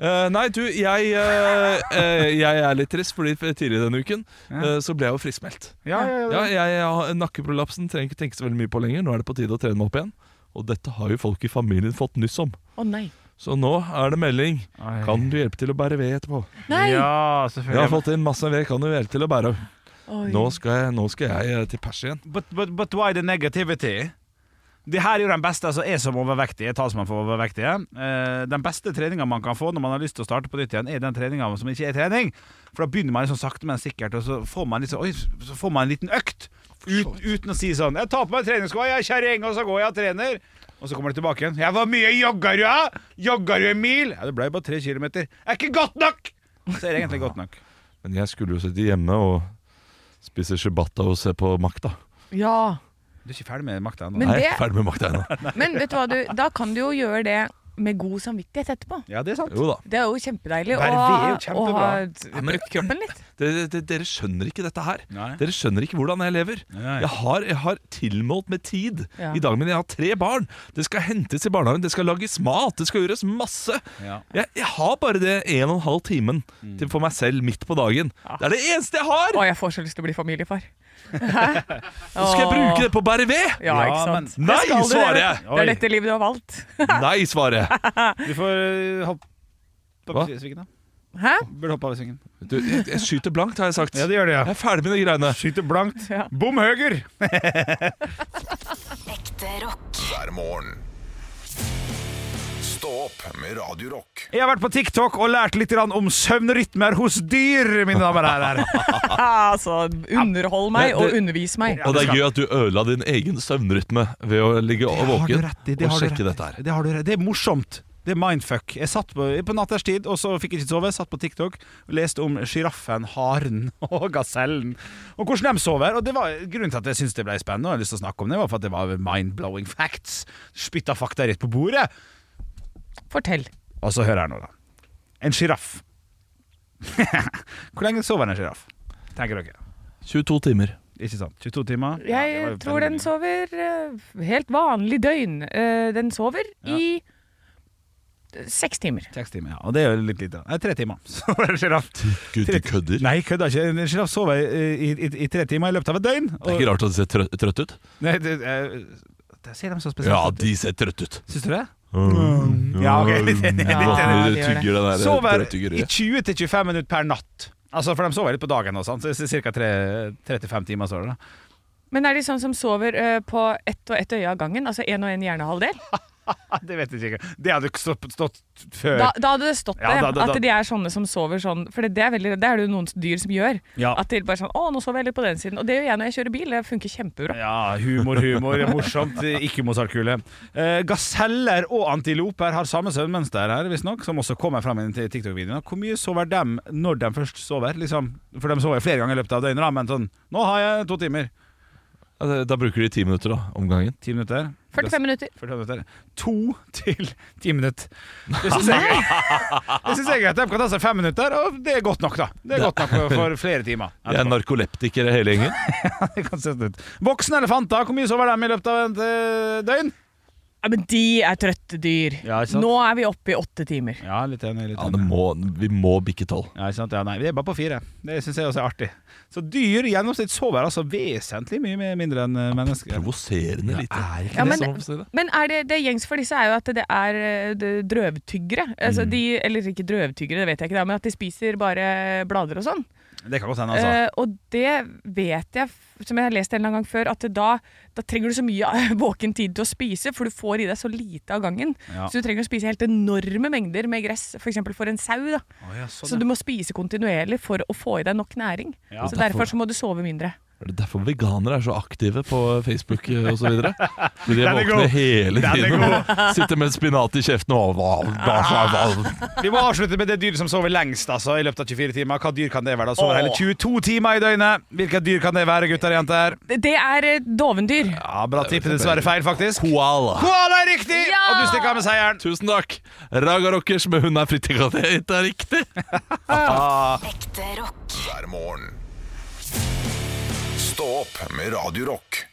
[SPEAKER 2] Eh, nei, du, jeg, eh, eh, jeg er litt trist, fordi tidligere denne uken eh, så ble jeg jo friskmeldt.
[SPEAKER 3] ja, ja, ja.
[SPEAKER 2] Ja, jeg, har nakkeprolapsen trenger ikke tenke så veldig mye på lenger. Nå er det på tide å trene meg opp igjen. Og dette har jo folk i familien fått nyss om.
[SPEAKER 4] Å nei.
[SPEAKER 2] Så nå er det melding.
[SPEAKER 3] Ai.
[SPEAKER 2] Kan du hjelpe til å bære ved etterpå?
[SPEAKER 4] Nei!
[SPEAKER 3] Ja,
[SPEAKER 2] Jeg har
[SPEAKER 3] selvfølgelig.
[SPEAKER 2] fått inn masse ved, kan du hjelpe til å bære?
[SPEAKER 4] Oi.
[SPEAKER 2] Nå skal jeg, nå skal jeg eh, til pers igjen.
[SPEAKER 3] But, but, but why the negativity? Det her er jo den beste, altså jeg som overvektig, jeg er talsmann for overvektige. Eh, den beste treninga man kan få når man har lyst til å starte på nytt igjen, er den treninga som ikke er trening. For da begynner man liksom sakte, men sikkert, og så får man, liksom, oi, så får man en liten økt. Ut, uten å si sånn 'Jeg tar på meg treningsskoa, jeg er kjerring, og så går jeg og trener'. Og så kommer det tilbake igjen. 'Jeg, hvor mye jogger du, da? Jogger du en mil?' Ja, det ble bare tre kilometer. 'Er ikke godt nok!' Så er det egentlig godt nok.
[SPEAKER 2] Men jeg skulle jo sitte hjemme og spise ciabatta og se på makta.
[SPEAKER 4] Ja.
[SPEAKER 3] Du er ikke ferdig med makta ennå.
[SPEAKER 4] Men
[SPEAKER 2] Nei,
[SPEAKER 4] det
[SPEAKER 2] ferdig med makta ennå.
[SPEAKER 4] Men vet du hva du, da kan du jo gjøre det med god samvittighet etterpå.
[SPEAKER 3] Ja, det er sant.
[SPEAKER 2] Jo da.
[SPEAKER 4] Det er jo kjempedeilig å,
[SPEAKER 3] Verve er jo
[SPEAKER 4] å ha
[SPEAKER 2] Ja, men-
[SPEAKER 4] brukt kroppen
[SPEAKER 2] [laughs]
[SPEAKER 4] litt.
[SPEAKER 2] Dere, dere, dere skjønner ikke dette her.
[SPEAKER 3] Nei.
[SPEAKER 2] Dere skjønner ikke hvordan jeg lever.
[SPEAKER 3] Nei.
[SPEAKER 2] Jeg har, jeg har tilmålt med tid
[SPEAKER 4] Ja.
[SPEAKER 2] i dagen min. Jeg har tre barn. Det skal hentes i barnehagen, det skal lages mat, det skal gjøres masse.
[SPEAKER 3] Ja. Mm.
[SPEAKER 2] Jeg, jeg har bare det en og en halv timen til for meg selv midt på dagen.
[SPEAKER 3] Ah.
[SPEAKER 2] Det er det eneste jeg har!
[SPEAKER 4] Å, jeg får så lyst til å bli familiefar.
[SPEAKER 2] Så skal jeg bruke det på å bære
[SPEAKER 3] [laughs]
[SPEAKER 2] ved!
[SPEAKER 4] Ja,
[SPEAKER 3] Ja,
[SPEAKER 4] ikke
[SPEAKER 3] men-
[SPEAKER 4] sant? Det
[SPEAKER 2] Nei,
[SPEAKER 4] skal du,
[SPEAKER 2] svarer
[SPEAKER 4] det.
[SPEAKER 2] jeg.
[SPEAKER 4] Det
[SPEAKER 3] Oi.
[SPEAKER 4] er dette livet du har valgt.
[SPEAKER 2] Nei, svarer jeg.
[SPEAKER 3] Vi får eh, hoppe
[SPEAKER 2] Hva?
[SPEAKER 3] av svingen, da.
[SPEAKER 4] Hæ?
[SPEAKER 3] Burde hoppe av svingen.
[SPEAKER 2] Du, jeg, jeg skyter blankt, har jeg sagt.
[SPEAKER 3] Ja, det gjør det,
[SPEAKER 2] Jeg
[SPEAKER 3] ja.
[SPEAKER 2] er ferdig med de greiene.
[SPEAKER 3] Skyter blankt.
[SPEAKER 4] Ja.
[SPEAKER 3] Bom høger!
[SPEAKER 5] Ekte rock.
[SPEAKER 1] hver morgen. Stå opp med Radio Rock.
[SPEAKER 3] Jeg har vært på TikTok og lært litt grann om søvnrytmer hos dyr, mine damer og herrer.
[SPEAKER 4] Altså, underhold meg
[SPEAKER 2] Ja, det-
[SPEAKER 4] og undervis meg.
[SPEAKER 2] Og det er gøy at du ødela din egen søvnrytme ved å ligge og våken og sjekke dette her.
[SPEAKER 3] Det, har du rett. i. det er morsomt. Det er mindfuck. Jeg satt på, på natterstid, og så fikk jeg ikke sove. Satt på TikTok og leste om sjiraffen, haren [laughs] og gasellen. Og hvordan de sover. Og det var Grunnen til at jeg syntes det ble spennende, og jeg har lyst til å snakke om det, var for at det var mind-blowing facts. Spytta fakta rett på bordet.
[SPEAKER 4] Fortell.
[SPEAKER 3] Og så hører jeg nå, da. En sjiraff. [laughs] Hvor lenge sover en sjiraff? Tenker dere.
[SPEAKER 2] 22 timer.
[SPEAKER 3] Ikke sant? 22 timer? Ja, det var
[SPEAKER 4] Jeg
[SPEAKER 3] jo
[SPEAKER 4] tror
[SPEAKER 3] veldig
[SPEAKER 4] den
[SPEAKER 3] mye.
[SPEAKER 4] sover eh, helt vanlig døgn. Eh, Den sover i eh, seks timer.
[SPEAKER 3] Seks timer, ja. Og det er jo litt lite. Nei, tre timer. [laughs] Så var det en sjiraff.
[SPEAKER 2] Gud, du
[SPEAKER 3] Tre-
[SPEAKER 2] kødder.
[SPEAKER 3] Nei, kødda ikke. En sjiraff sover i, i, i tre timer i løpet av et døgn.
[SPEAKER 2] Det er ikke rart at de ser trøtt, trøtt ut.
[SPEAKER 3] Nei, det, eh, det ser de så spesielt
[SPEAKER 2] Ja,
[SPEAKER 3] ut.
[SPEAKER 2] de ser trøtt ut.
[SPEAKER 3] Syns du det?
[SPEAKER 2] Mm.
[SPEAKER 3] Ja, ok. [laughs] Litt enig, litt
[SPEAKER 2] Ja,
[SPEAKER 4] enig.
[SPEAKER 2] de tygger den der
[SPEAKER 3] Sover i
[SPEAKER 2] brødtyggeriet.
[SPEAKER 3] 20-25 minutter per natt. Altså, For de sover litt på dagen også, sant? så ca. 35 timer. sover de, [laughs] da.
[SPEAKER 4] Men er de sånn som sover eh, på ett og ett øye av gangen? Altså én og én hjernehalvdel?
[SPEAKER 3] Ah, det vet jeg ikke. Det hadde ikke stått, stått før.
[SPEAKER 4] Da, da hadde det stått det.
[SPEAKER 3] Ja, da- da- da-
[SPEAKER 4] At de er sånne som sover sånn. For det, det er, veldig, det er det jo noen dyr som gjør.
[SPEAKER 3] Ja.
[SPEAKER 4] At de bare sånn Å, nå sover jeg litt på den siden. Og det gjør jeg når jeg kjører bil. Det funker kjempebra.
[SPEAKER 3] Ja, humor, humor, morsomt, ikke Mozart-kule. Eh, gaseller og antiloper har samme søvnmønster her, visstnok, som også kommer fram i den TikTok-videoen. Hvor mye sover dem når de først sover? Liksom? For de sover flere ganger i løpet av døgnet, da, men sånn Nå har jeg to timer.
[SPEAKER 2] Ja, det- Altså, Da bruker de ti minutter da, om gangen.
[SPEAKER 3] Ti minutter.
[SPEAKER 4] 45 minutter.
[SPEAKER 3] 45 minutter. To til ti minutter. Det syns jeg, det synes jeg er greit. De kan ta seg fem minutter, og det er godt nok, da. Det er godt nok for- for flere timer.
[SPEAKER 2] De er narkoleptikere hele gjengen.
[SPEAKER 3] [laughs] Det kan se sånn ut. Voksne elefanter, hvor mye sover dem i løpet av et eh, døgn?
[SPEAKER 4] Ja, men de er trøtte dyr.
[SPEAKER 3] Ja, ikke sant?
[SPEAKER 4] Nå er vi oppe i åtte timer.
[SPEAKER 3] Ja, litt enig. Litt
[SPEAKER 2] Ja,
[SPEAKER 3] enig.
[SPEAKER 2] det må, Vi må bikke tolv.
[SPEAKER 3] Ja, ikke sant? Ja, nei, vi er bare på fire. Det syns jeg også er artig. Så dyr i gjennomsnitt sover altså vesentlig mye mer- mindre enn eh, mennesker.
[SPEAKER 2] Provoserende lite.
[SPEAKER 3] Er ikke
[SPEAKER 4] Ja,
[SPEAKER 3] det
[SPEAKER 4] men-
[SPEAKER 3] så- så-
[SPEAKER 4] Men er det, det gjengs for disse er jo at det er eh, d- drøvtyggere.
[SPEAKER 3] Mm.
[SPEAKER 4] Altså de, eller ikke drøvtyggere, det vet jeg ikke, da, men at de spiser bare blader og sånn.
[SPEAKER 3] Det kan godt hende, altså.
[SPEAKER 4] Eh, og det vet jeg, f- som jeg har lest en eller annen gang før, at det da, da trenger du så mye eh, våken tid til å spise, for du får i deg så lite av gangen.
[SPEAKER 3] Ja.
[SPEAKER 4] Så du trenger å spise helt enorme mengder med gress, f.eks. For, for en sau. da.
[SPEAKER 3] Å, ja, sånn,
[SPEAKER 4] Så du må spise kontinuerlig for å få i deg nok næring.
[SPEAKER 3] Ja.
[SPEAKER 4] Så derfor så må du sove mindre.
[SPEAKER 2] Er det derfor veganere er så aktive på Facebook eh, osv.?
[SPEAKER 3] [laughs]
[SPEAKER 2] De
[SPEAKER 3] Den er
[SPEAKER 2] våkner
[SPEAKER 3] god.
[SPEAKER 2] hele
[SPEAKER 3] Den er
[SPEAKER 2] tiden. Sitter med spinat i kjeften og
[SPEAKER 3] [laughs] ja. Vi må avslutte med det dyr som sover lengst altså, i løpet av 24 timer. Hva dyr kan det være? da? Sover hele 22 timer i døgnet. Hvilke dyr kan det være, gutter og jenter?
[SPEAKER 4] Det det er eh, dovendyr.
[SPEAKER 3] Ja, Bra tipp. Dessverre feil, faktisk.
[SPEAKER 2] Koala.
[SPEAKER 3] Koala er riktig!
[SPEAKER 4] Ja!
[SPEAKER 3] Og du stikker av med seieren.
[SPEAKER 2] Tusen takk! Raga Rockers med 'Hun er frittinga'. Det er riktig!
[SPEAKER 5] Ekte rock.
[SPEAKER 1] hver morgen. Stå opp med Radio Rock.